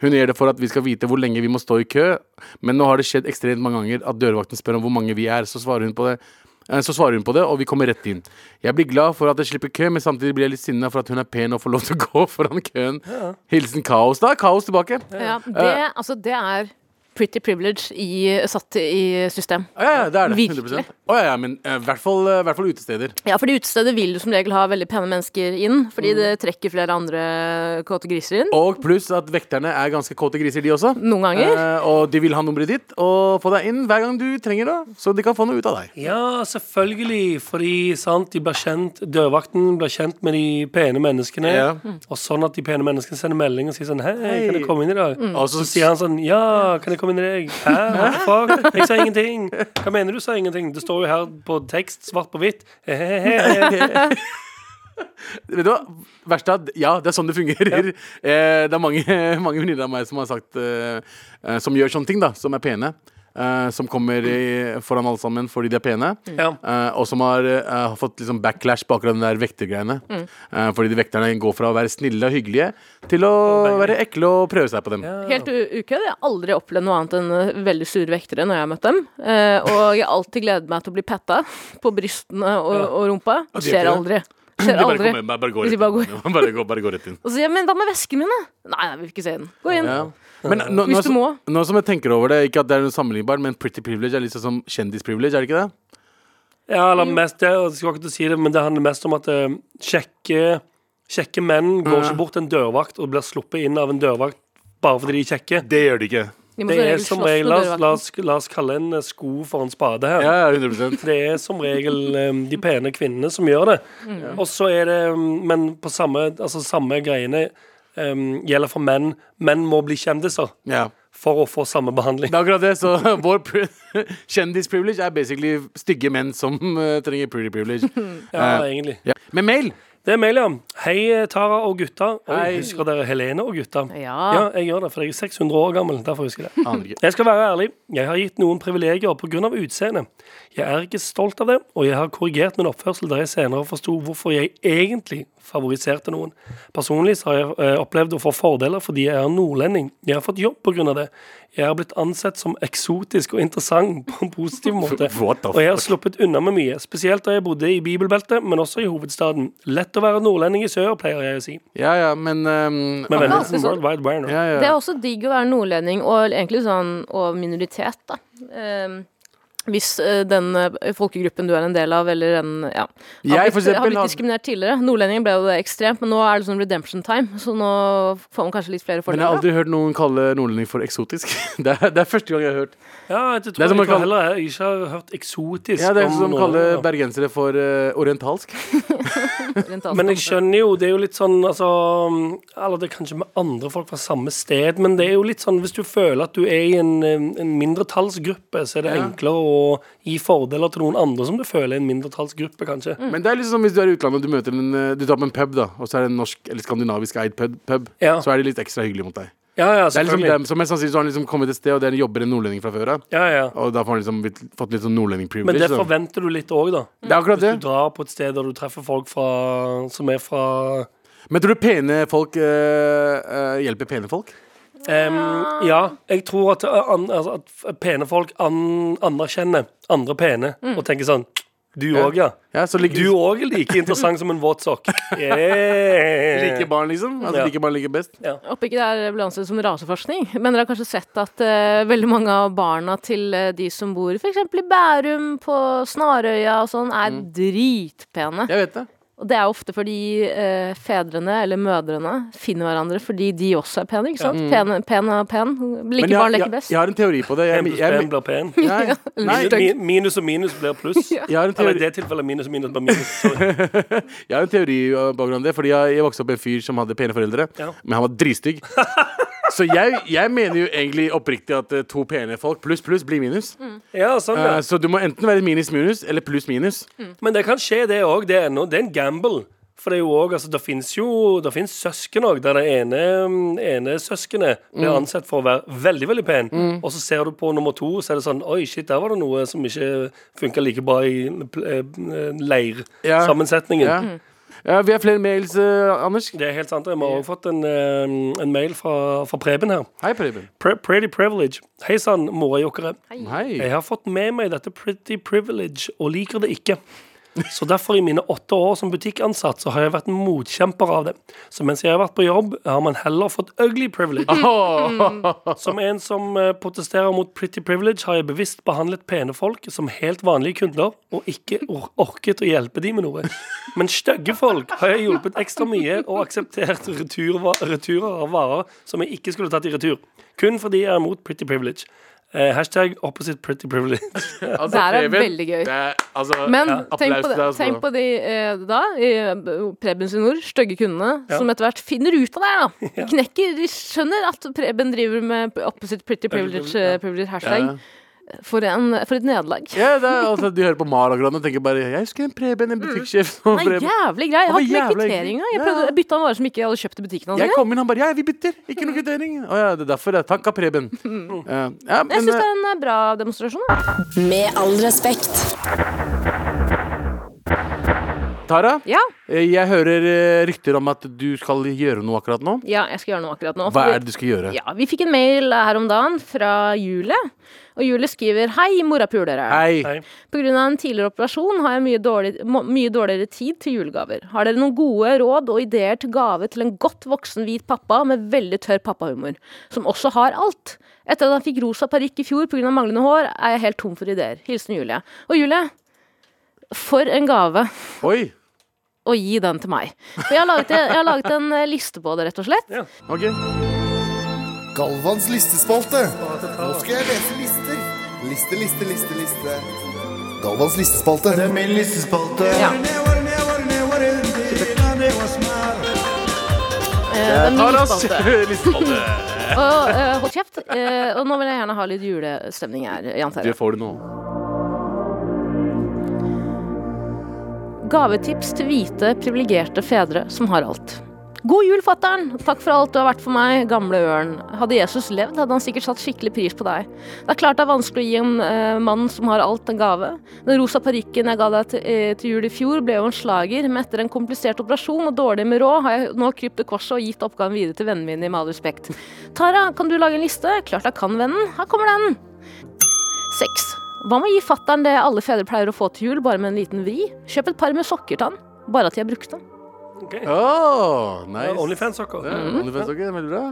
Speaker 2: Hun gjør det for at vi skal vite hvor lenge vi må stå i kø, men nå har det skjedd ekstremt mange ganger at dørvakten spør om hvor mange vi er, så svarer hun på det. Eh, Så svarer hun på det, og vi kommer rett inn. Jeg blir glad for at jeg slipper kø, men samtidig blir jeg litt sinna for at hun er pen og får lov til å gå foran køen. Hilsen Kaos. Da er Kaos tilbake.
Speaker 4: Ja, det, altså, det er pretty privilege i, satt i system.
Speaker 2: Ja, ja, det er det.
Speaker 4: Virkelig.
Speaker 2: 100 Å, ja, ja, men i hvert, fall, eh, hvert fall utesteder.
Speaker 4: Ja, fordi utestedet vil jo som regel ha veldig pene mennesker inn, fordi det trekker flere andre kåte griser inn.
Speaker 2: Og pluss at vekterne er ganske kåte griser, de også.
Speaker 4: Noen ganger.
Speaker 2: Eh, og de vil ha nummeret ditt og få deg inn hver gang du trenger det. Så de kan få noe ut av deg.
Speaker 3: Ja, selvfølgelig, fordi sant, de blir kjent, dørvakten blir kjent med de pene menneskene.
Speaker 2: Ja.
Speaker 3: Og sånn at de pene menneskene sender melding og sier sånn Hei, kan jeg komme inn i dag?
Speaker 4: Mm.
Speaker 2: Og
Speaker 3: Så
Speaker 2: så
Speaker 3: sier han sånn Ja, kan jeg komme inn i deg? Hæ, hvorfor? Jeg sa ingenting. Hva mener du sa ingenting? Det står jo her på tekst, svart på hvitt. Hehehe.
Speaker 2: Vet du hva? Verst er at ja, det er sånn det fungerer. Eh, det er mange, mange venninner av meg som har sagt eh, eh, Som gjør sånne ting, da. Som er pene. eh, som kommer i, foran alle sammen fordi de er pene.
Speaker 3: Ja.
Speaker 2: eh, og som har eh, har fått liksom backlash på akkurat den der vektergreiene.
Speaker 4: Mm.
Speaker 2: Eh, fordi de vekterne går fra å være snille og hyggelige til å være ekle og prøve seg på dem.
Speaker 4: Helt u- ukødd. Jeg har aldri opplevd noe annet enn eh, veldig sure vektere når jeg har møtt dem. Eh, og jeg har alltid gledet meg til å bli petta på brystene og, og rumpa.
Speaker 2: de gjør
Speaker 4: Skjer
Speaker 2: ikke
Speaker 4: aldri. Skjer
Speaker 2: De bare,
Speaker 4: aldri.
Speaker 2: kommer, bare, bare går
Speaker 4: De
Speaker 2: rett
Speaker 4: bare
Speaker 2: inn. Bare, går, bare går rett inn.
Speaker 4: Og så sier jeg, men hva med vesken min, da? Nei, jeg vil ikke se den. Gå inn.
Speaker 2: Ja. Men nå, nå,
Speaker 4: Hvis du må.
Speaker 2: nå som jeg tenker over det, ikke at det er noe sammenlignbart, men pretty privilege er litt sånn som kjendisprivilege, er det ikke det?
Speaker 3: Ja, eller mest det, og jeg skal ikke si det, men det handler mest om at eh, kjekke, kjekke menn går ikke bort til en dørvakt og blir sluppet inn av en dørvakt bare fordi de er kjekke.
Speaker 2: Det gjør de ikke.
Speaker 4: De må
Speaker 3: Det
Speaker 4: regel
Speaker 3: er som
Speaker 4: slåss med
Speaker 3: regel, la oss,
Speaker 4: dørvakten.
Speaker 3: la oss, la oss kalle en eh, sko for en spade her.
Speaker 2: Ja, ja, 100
Speaker 3: Det er som regel eh, de pene kvinnene som gjør det. Og så er det mm, Men på samme, altså samme greiene eh, gjelder for menn. Menn må bli kjendiser
Speaker 2: ja.
Speaker 3: for å få samme behandling.
Speaker 2: Det er akkurat det, så vår pri- kjendisprivilege er basically stygge menn som eh, trenger pretty privilege.
Speaker 3: Ja,
Speaker 2: Eh,
Speaker 3: egentlig.
Speaker 2: ja. Men mail!
Speaker 3: Det er mail, ja. Hei, eh, Tara og gutta. Oi,
Speaker 2: Hei.
Speaker 3: Husker dere Helene og gutta?
Speaker 4: Ja.
Speaker 3: ja, jeg gjør det, for jeg er 600 år gammel. Derfor husker jeg det.
Speaker 2: Aner ikke.
Speaker 3: Jeg skal være ærlig. Jeg har gitt noen privilegier pga. utseendet. Jeg er ikke stolt av det, og jeg har korrigert min oppførsel der jeg senere forsto hvorfor jeg egentlig favoriserte noen. Personlig så har jeg eh, opplevd å få fordeler fordi jeg er nordlending. Jeg har fått jobb pga. det. Jeg har blitt ansett som eksotisk og interessant på en positiv måte.
Speaker 2: What the
Speaker 3: Og jeg har sluppet unna med mye, spesielt da jeg bodde i bibelbeltet, men også i hovedstaden. Lett å være nordlending i sør, pleier jeg å si.
Speaker 2: Ja ja, men ehm,
Speaker 3: Men venner,
Speaker 4: det er så-
Speaker 3: world wide wearer.
Speaker 2: ja,
Speaker 4: Det
Speaker 2: ja.
Speaker 4: er også digg å være nordlending og egentlig sånn og minoritet, da. Ehm, hvis eh, den eh, folkegruppen du er en del av, eller en ja, har,
Speaker 2: Jeg, for
Speaker 4: blitt, har
Speaker 2: eksempel,
Speaker 4: blitt
Speaker 2: har-
Speaker 4: diskriminert tidligere. Nordlendinger ble jo det ekstremt, men nå er det sånn redemption time, så nå får man kanskje litt flere
Speaker 2: Men jeg har
Speaker 4: fordeler. da.
Speaker 2: aldri hørt noen kalle nordlending for eksotisk. Det er, det er første gang jeg har hørt.
Speaker 3: Ja, det tror
Speaker 2: er som å
Speaker 3: jeg ikke
Speaker 2: kalle-
Speaker 3: heller jeg ikke har hørt eksotisk
Speaker 2: Ja, det er liksom som å
Speaker 3: noen,
Speaker 2: kalle
Speaker 3: ja.
Speaker 2: bergensere for eh, orientalsk.
Speaker 4: Rent alt.
Speaker 3: Men jeg skjønner jo, det er jo litt sånn altså, Eller det er kanskje med andre folk fra samme sted, men det er jo litt sånn hvis du føler at du er i en, eh, en mindretallsgruppe, så er det enklere å gi fordeler til noen andre som du føler er en mindretallsgruppe, kanskje.
Speaker 4: Mm.
Speaker 2: Men det er liksom som hvis du er i utlandet og du møter en eh, Du drar på en pub, da, og så er det en norsk eller skandinavisk eid pub, pub
Speaker 3: Ja.
Speaker 2: så er de litt ekstra hyggelige mot deg.
Speaker 3: Ja, ja,
Speaker 2: Det er liksom
Speaker 3: Ah. selvfølgelig.
Speaker 2: dem, så Mest sannsynlig så har han liksom kommet et sted, og der jobber en nordlending fra før av.
Speaker 3: Ja, ja.
Speaker 2: Og da får han liksom blitt, fått litt sånn nordlending
Speaker 3: Men
Speaker 2: privilege.
Speaker 3: det
Speaker 2: da.
Speaker 3: forventer du litt òg, da.
Speaker 2: Det er akkurat det.
Speaker 3: Hvis du drar på et sted der du treffer folk fra, som er fra
Speaker 2: Men tror du pene folk eh, eh, hjelper pene folk?
Speaker 3: Em, Ja, jeg tror at, eh, an, altså, at pene folk an, anerkjenner andre pene og tenker sånn Du òg, ja.
Speaker 2: Ja, så like,
Speaker 3: Du òg er like interessant som en våt sokk.
Speaker 2: like
Speaker 3: Yeah.
Speaker 2: barn, liksom? Altså
Speaker 3: Ja.
Speaker 2: like barn liker best?
Speaker 4: Håper ikke det her ble ansett som raseforskning, men dere har kanskje sett at eh, veldig mange av barna til eh, de som bor f.eks. i Bærum, på Snarøya og sånn, er
Speaker 2: Mm.
Speaker 4: dritpene.
Speaker 2: Jeg vet det.
Speaker 4: Og det er ofte fordi eh, fedrene eller mødrene finner hverandre fordi de også er pene, ikke sant? Pene, pen og pen. Like
Speaker 2: Men jeg,
Speaker 4: barn
Speaker 2: jeg,
Speaker 4: leker
Speaker 2: jeg,
Speaker 4: best.
Speaker 2: har en teori på det. Jeg,
Speaker 3: En pluss
Speaker 2: jeg,
Speaker 3: en blir pen.
Speaker 2: Nei, nei,
Speaker 3: Min- min- Minus og minus blir pluss.
Speaker 2: jeg har en
Speaker 3: Eller
Speaker 2: teori
Speaker 3: i det tilfellet minus og minus blir minus. Sorry.
Speaker 2: Jeg har en teori uh, bak grunn av det, fordi jeg, jeg vokste opp med en fyr som hadde pene foreldre,
Speaker 3: Ja.
Speaker 2: men han var dritstygg. Så jeg, jeg mener jo egentlig oppriktig at uh, to pene folk pluss pluss blir minus.
Speaker 4: Mm.
Speaker 3: Ja, sånn,
Speaker 2: Uh,
Speaker 3: ja.
Speaker 2: så du må enten være minus minus eller pluss minus.
Speaker 4: Mm.
Speaker 3: Men det kan skje, det òg. Det, er ennå- det er en gamble. For det er jo òg altså, Det fins jo Det finnes søsken òg, der det ene, mm, ene søskenet
Speaker 2: Mm.
Speaker 3: blir ansett for å være veldig veldig pen, og så ser du på nummer to, så er det sånn Oi, shit, der var det noe som ikke funka like bra i eh,
Speaker 2: Ja.
Speaker 3: leirsammensetningen.
Speaker 2: Ja.
Speaker 4: Mm.
Speaker 2: Ja, vi har flere mails, uh, Anders.
Speaker 3: Det er helt sant. Jeg har også fått en, eh, en mail fra, fra Preben her.
Speaker 2: Hei, Preben.
Speaker 3: Pre pretty privilege. Hei sann, morajokkere.
Speaker 2: Hei.
Speaker 3: Jeg har fått med meg dette pretty privilege og liker det ikke. Så derfor i mine åtte år som butikkansatt så har jeg vært en motkjemper av det. Så mens jeg har vært på jobb, har man heller fått ugly privilege. Som en som eh, protesterer mot pretty privilege, har jeg bevisst behandlet pene folk som helt vanlige kunder, og ikke or orket å hjelpe dem med noe. Men stygge folk har jeg hjulpet ekstra mye, og akseptert returva- returer av varer som jeg ikke skulle tatt i retur. Kun fordi jeg er mot pretty privilege. Eh, hashtag opposite pretty privilege.
Speaker 2: Altså,
Speaker 4: Det her er
Speaker 2: Preben,
Speaker 4: veldig gøy.
Speaker 2: det er- altså,
Speaker 4: Men
Speaker 2: ja,
Speaker 4: tenk,
Speaker 2: applaus
Speaker 4: på
Speaker 2: til
Speaker 4: det,
Speaker 2: deg, altså.
Speaker 4: tenk på de eh, da, i eh, Preben sine ord, stygge kundene, som etter hvert finner ut av det her, da. Knekker, de skjønner at Preben driver med opposite pretty privilege, eh, privilege hashtag. For, en, for et nederlag.
Speaker 2: Ja, det er, altså, de hører på Mar og grann og tenker bare Jeg husker en Preben, en butikksjef. som
Speaker 4: Mm. Nei,
Speaker 2: Preben.
Speaker 4: jævlig grei. Jeg
Speaker 2: var
Speaker 4: har ikke med
Speaker 2: jævlig
Speaker 4: kvittering engang. Jeg,
Speaker 2: hyggelig. Ja.
Speaker 4: prøvde- jeg bytta en vare som ikke jeg hadde kjøpt i butikken. hans
Speaker 2: Jeg
Speaker 4: engang.
Speaker 2: kom inn, han bare Ja, vi bytter. Ikke
Speaker 4: Mm.
Speaker 2: noe kvittering. Å ja, det er derfor. ja. Takk, Preben. Ja, ja, men,
Speaker 4: Jeg
Speaker 2: eh,
Speaker 4: syns det er en eh, bra demonstrasjon. Da.
Speaker 7: Med all respekt.
Speaker 2: Tara,
Speaker 4: Ja.
Speaker 2: eh, jeg hører eh, rykter om at du skal gjøre noe akkurat nå.
Speaker 4: ja, jeg skal gjøre noe akkurat nå.
Speaker 2: Hva er det du skal gjøre?
Speaker 4: Ja, Vi fikk en mail her om dagen fra Julie. Og Julie skriver Hei, morapulere.
Speaker 2: Hei.
Speaker 3: Nei.
Speaker 4: På grunn av en tidligere operasjon har jeg mye, dårlig, må, mye dårligere tid til julegaver. Har dere noen gode råd og ideer til gave til en godt voksen hvit pappa med veldig tørr pappahumor, som også har alt? Etter at han fikk rosa parykk i fjor pga. manglende hår, er jeg helt tom for ideer. Hilsen Julie. Og Julie, for en gave
Speaker 2: Oi.
Speaker 4: å gi den til meg. For jeg har laget, jeg har laget en eh, liste på det, rett og slett.
Speaker 2: Ok.
Speaker 8: Galvans listespalte. Nå skal jeg lese lister. Liste, liste, liste, liste. Galvans listespalte. Det er min listespalte.
Speaker 4: Ja. Eh, den nye
Speaker 2: Taras
Speaker 4: spalte.
Speaker 2: listespalte.
Speaker 4: Og eh, hold kjeft. Eh, og nå vil jeg gjerne ha litt julestemning her, Jan
Speaker 2: Du
Speaker 4: Terje.
Speaker 2: får det nå.
Speaker 4: Gavetips til hvite, privilegerte fedre som har alt. God jul, fatter'n! Takk for alt du har vært for meg, gamle ørn. Hadde Jesus levd, hadde han sikkert satt skikkelig pris på deg. Det er klart det er vanskelig å gi en eh, mann som har alt, en gave. Den rosa parykken jeg ga deg til, eh, til jul i fjor, ble jo en slager, men etter en komplisert operasjon og dårlig med råd, har jeg nå krypet korset og gitt oppgaven videre til vennene mine, i med all respekt. Tara, kan du lage en liste? Klart jeg kan, vennen. Her kommer den! Seks. Hva med å gi fattern det alle fedre pleier å få til jul, bare med en liten vri? Kjøp et par med sokker til han, bare at de er brukte.
Speaker 3: Ok.
Speaker 2: Åh, nice.
Speaker 3: Ja, Onlyfans-sokker.
Speaker 4: Mm.
Speaker 2: Ja, Onlyfans, ok. Veldig bra.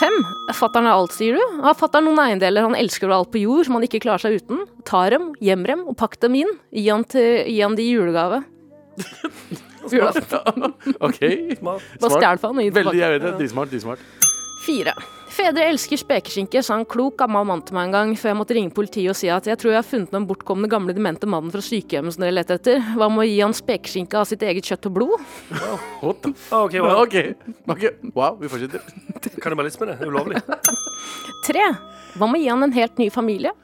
Speaker 4: Fem. Fattern har alt, sier du. Har fattern noen eiendeler han elsker over alt på jord som han ikke klarer seg uten? Ta dem, gjem dem, og pakk dem inn. Gi han, til, gi han de i julegave. Julaften.
Speaker 2: OK?
Speaker 3: Smart.
Speaker 4: Bare stjel fra han og gi det
Speaker 2: Veldig,
Speaker 4: tilbake.
Speaker 2: jeg vet det. Dritsmart. dritsmart.
Speaker 4: Fire. Fedre elsker spekeskinke, sa en klok gammel mann til meg en gang, før jeg måtte ringe politiet og si at jeg tror jeg har funnet den bortkomne gamle demente mannen fra sykehjemmet som dere lette etter. Hva med å gi han spekeskinke av sitt eget kjøtt og blod?
Speaker 2: What the f...
Speaker 3: Ah, ok, wow.
Speaker 2: OK. ok. Wow, vi fortsetter.
Speaker 3: Kannibalisme, det. Ulovlig.
Speaker 4: Tre. Hva med å gi han en helt ny familie?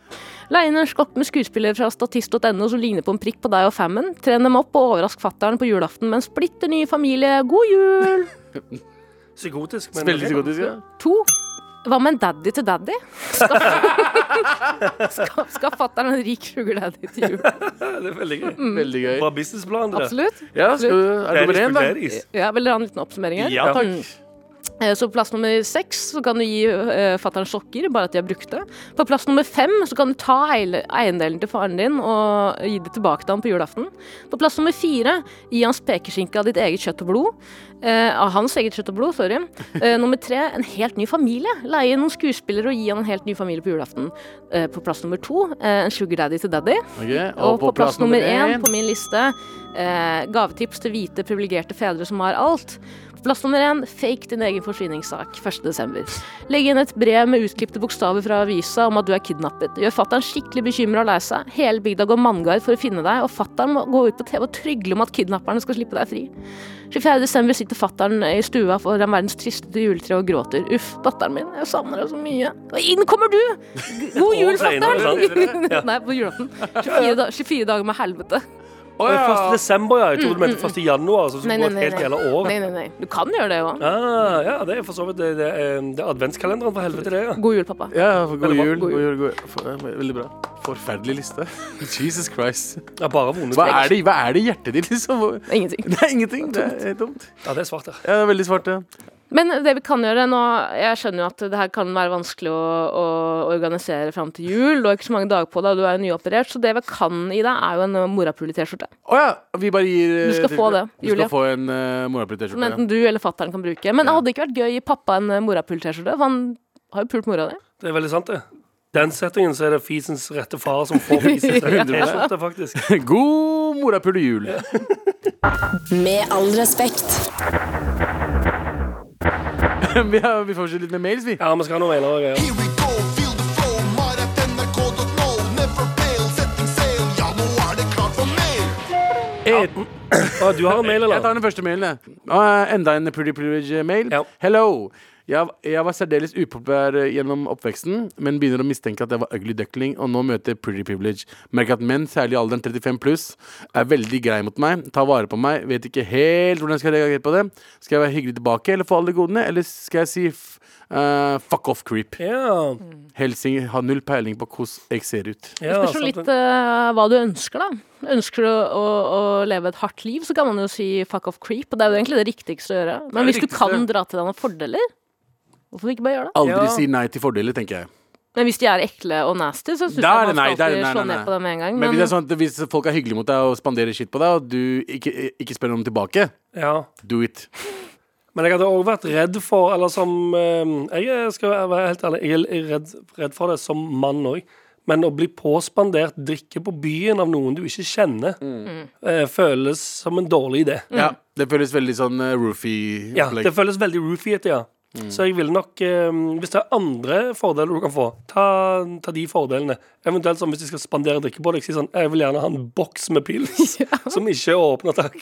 Speaker 4: Leie inn en skokk med skuespillere fra statist.no som ligner på en prikk på deg og fammen. Tren dem opp og overrask fattern på julaften med en splitter ny familie. God jul!
Speaker 3: Psykotisk. Men
Speaker 2: Veldig psykotisk. Ja.
Speaker 4: To. Hva med en daddy til daddy? Skal, skal fattern en rik sugar daddy til jul?
Speaker 3: Ja, det er veldig gøy.
Speaker 4: Mm.
Speaker 2: Veldig gøy.
Speaker 3: Bra businessplan. det der.
Speaker 4: Absolutt.
Speaker 2: Ja, skal du, Mm. er det nummer én, da?
Speaker 3: Daddies to daddies.
Speaker 4: Ja, Vil dere ha en liten oppsummering her?
Speaker 3: Ja, Mm. takk.
Speaker 4: Eh, Så på plass nummer seks så kan du gi uh, fattern sokker, bare at de har brukt det. På plass nummer fem så kan du ta eile- eiendelen til faren din og gi det tilbake til ham på julaften. På plass nummer fire gi hans pekeskinke av ditt eget kjøtt og blod. Eh, av hans eget kjøtt og blod, sorry. Eh, nummer tre en helt ny familie. Leie inn noen skuespillere og gi han en helt ny familie på julaften. Eh, på plass nummer to eh, en sugar daddy til daddy.
Speaker 2: Ok,
Speaker 4: Og, på, plass, nummer én på min liste eh, gavetips til hvite, privilegerte fedre som har alt. På plass nummer én fake din egen forsvinningssak 1.12. Legg inn et brev med utklipte bokstaver fra avisa om at du er kidnappet. Gjør fattern skikkelig bekymra og lei seg. Hele bygda går manngard for å finne deg, og fattern må gå ut på TV og trygle om at kidnapperne skal slippe deg fri. 24.12. sitter fattern i stua foran verdens tristeste juletre og gråter. Uff, datteren min, jeg savner deg så mye. Og inn kommer du! God jul,
Speaker 3: Og
Speaker 4: fatter'n!
Speaker 3: regner, sant? Ja.
Speaker 4: Nei, på julaften. 24, da 24 dager med helvete.
Speaker 2: Å,
Speaker 3: Men
Speaker 2: ja. Mm,
Speaker 3: 1. desember, ja. Jeg trodde du mente 1. januar. Så det
Speaker 4: Nei,
Speaker 3: skulle gå et
Speaker 4: nei,
Speaker 3: helt
Speaker 4: nei,
Speaker 3: jævla år.
Speaker 4: Nei, nei, nei. Du kan gjøre det òg.
Speaker 3: Ah, ja, det er for så vidt det, det, er, det er adventskalenderen for helvete, det. ja
Speaker 4: God jul, pappa.
Speaker 2: Ja, for god
Speaker 3: Veldig bra.
Speaker 2: jul.
Speaker 4: God
Speaker 2: God jul, god jul. For, eh, veldig bra. Forferdelig liste. Jesus Christ.
Speaker 3: Jeg har bare vunnet.
Speaker 2: Hva er det, hva er det i hjertet ditt, liksom? Hvor-
Speaker 4: Ingenting.
Speaker 2: Det er ingenting. Det er dumt.
Speaker 3: Ja, det er svart, ja.
Speaker 2: Ja, det er veldig svart, ja.
Speaker 4: Men det vi kan gjøre nå Jeg skjønner jo at det her kan være vanskelig å, å organisere fram til jul. Du har ikke så mange dager på deg, og du er jo nyoperert, så det vi kan i deg, er jo en morapule-T-skjorte.
Speaker 2: Å ja, vi bare gir eh,
Speaker 4: Du skal
Speaker 2: til-
Speaker 4: få det,
Speaker 2: Du
Speaker 4: Julie.
Speaker 2: skal få en uh,
Speaker 4: Som
Speaker 2: morapulitetsskjorte.
Speaker 4: enten du eller fattern kan bruke. Men det hadde ikke vært gøy å gi pappa en morapule-T-skjorte, for han har jo pult mora di.
Speaker 3: Det er veldig sant, det. Den settingen så er det fisens rette far som får fisens rette T-skjorte, faktisk.
Speaker 2: Ja. God morapulejul.
Speaker 7: Med all respekt.
Speaker 2: vi, har- vi fortsetter litt med mails, vi.
Speaker 3: Ja, vi skal ha noe mailer og greier.
Speaker 8: Here we go, feel the flow, maratnrk.no, never fail, setting sail, ja nå er det klart for mail.
Speaker 3: Ah, du har en mail,
Speaker 2: Jeg tar
Speaker 3: eller?
Speaker 2: den første mailen, jeg. Og, eh, Enda en pretty privilege-mail.
Speaker 3: Ja.
Speaker 2: Hello! Jeg, jeg var særdeles upopulær eh, gjennom oppveksten, men begynner å mistenke at jeg var ugly duckling, og nå møter jeg pretty privilege. Merker at menn, særlig i alderen 35 pluss, er veldig grei mot meg, tar vare på meg, vet ikke helt hvordan jeg skal reagere på det. Skal jeg være hyggelig tilbake eller få alle godene, eller skal jeg si f eh, fuck off creep?
Speaker 3: Ja.
Speaker 2: Helsing har null peiling på hvordan jeg ser ut.
Speaker 4: Det
Speaker 3: ja
Speaker 4: spørs jo
Speaker 3: sant
Speaker 4: litt
Speaker 3: det.
Speaker 4: eh, hva du ønsker, da. Ønsker du å, å leve et hardt liv, så kan man jo si fuck off creep, og det er jo egentlig det riktigste å gjøre. Men
Speaker 2: Det
Speaker 4: hvis
Speaker 2: er
Speaker 4: du
Speaker 2: det
Speaker 4: kan
Speaker 2: riktigste.
Speaker 4: dra til deg noen fordeler, hvorfor ikke bare gjøre det?
Speaker 2: Aldri
Speaker 3: Ja.
Speaker 2: si nei til fordeler, tenker jeg.
Speaker 4: Men hvis de er ekle og nasty, så syns jeg
Speaker 2: Da er
Speaker 4: man
Speaker 2: det nei,
Speaker 4: skal
Speaker 2: da er det
Speaker 4: alltid
Speaker 2: nei, nei,
Speaker 4: slå ned
Speaker 2: nei.
Speaker 4: på det med en gang.
Speaker 2: Men hvis, det
Speaker 4: Men
Speaker 2: er sånn at hvis folk er hyggelige mot deg og spanderer skitt på deg, og du ikke, ikke spør om tilbake,
Speaker 3: Ja.
Speaker 2: do it.
Speaker 3: Men jeg hadde òg vært redd for Eller som eh, Jeg skal være helt ærlig, jeg er redd, redd for det som mann òg. Men å bli påspandert drikke på byen av noen du ikke kjenner, eh, føles som en dårlig idé.
Speaker 4: Mm.
Speaker 2: Ja, det føles veldig sånn uh, roofie
Speaker 3: Ja, det føles veldig roofiete, ja.
Speaker 2: Mm.
Speaker 3: Så jeg vil nok, eh, hvis det er andre fordeler du kan få, ta, ta de fordelene. Eventuelt sånn hvis de skal spandere drikke på deg, si sånn Jeg vil gjerne ha en boks med pils som ikke er åpna, takk.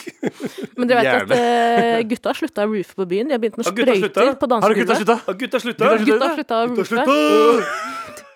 Speaker 4: men dere vet at eh, gutta slutta å roofe på byen. De har begynt med
Speaker 3: Har gutta
Speaker 4: sprøyter
Speaker 3: sluttet?
Speaker 4: på
Speaker 2: Har du gutta
Speaker 4: dansegulvet.
Speaker 2: slutta?
Speaker 3: Har gutta slutta?
Speaker 4: Gutta slutta å roofe.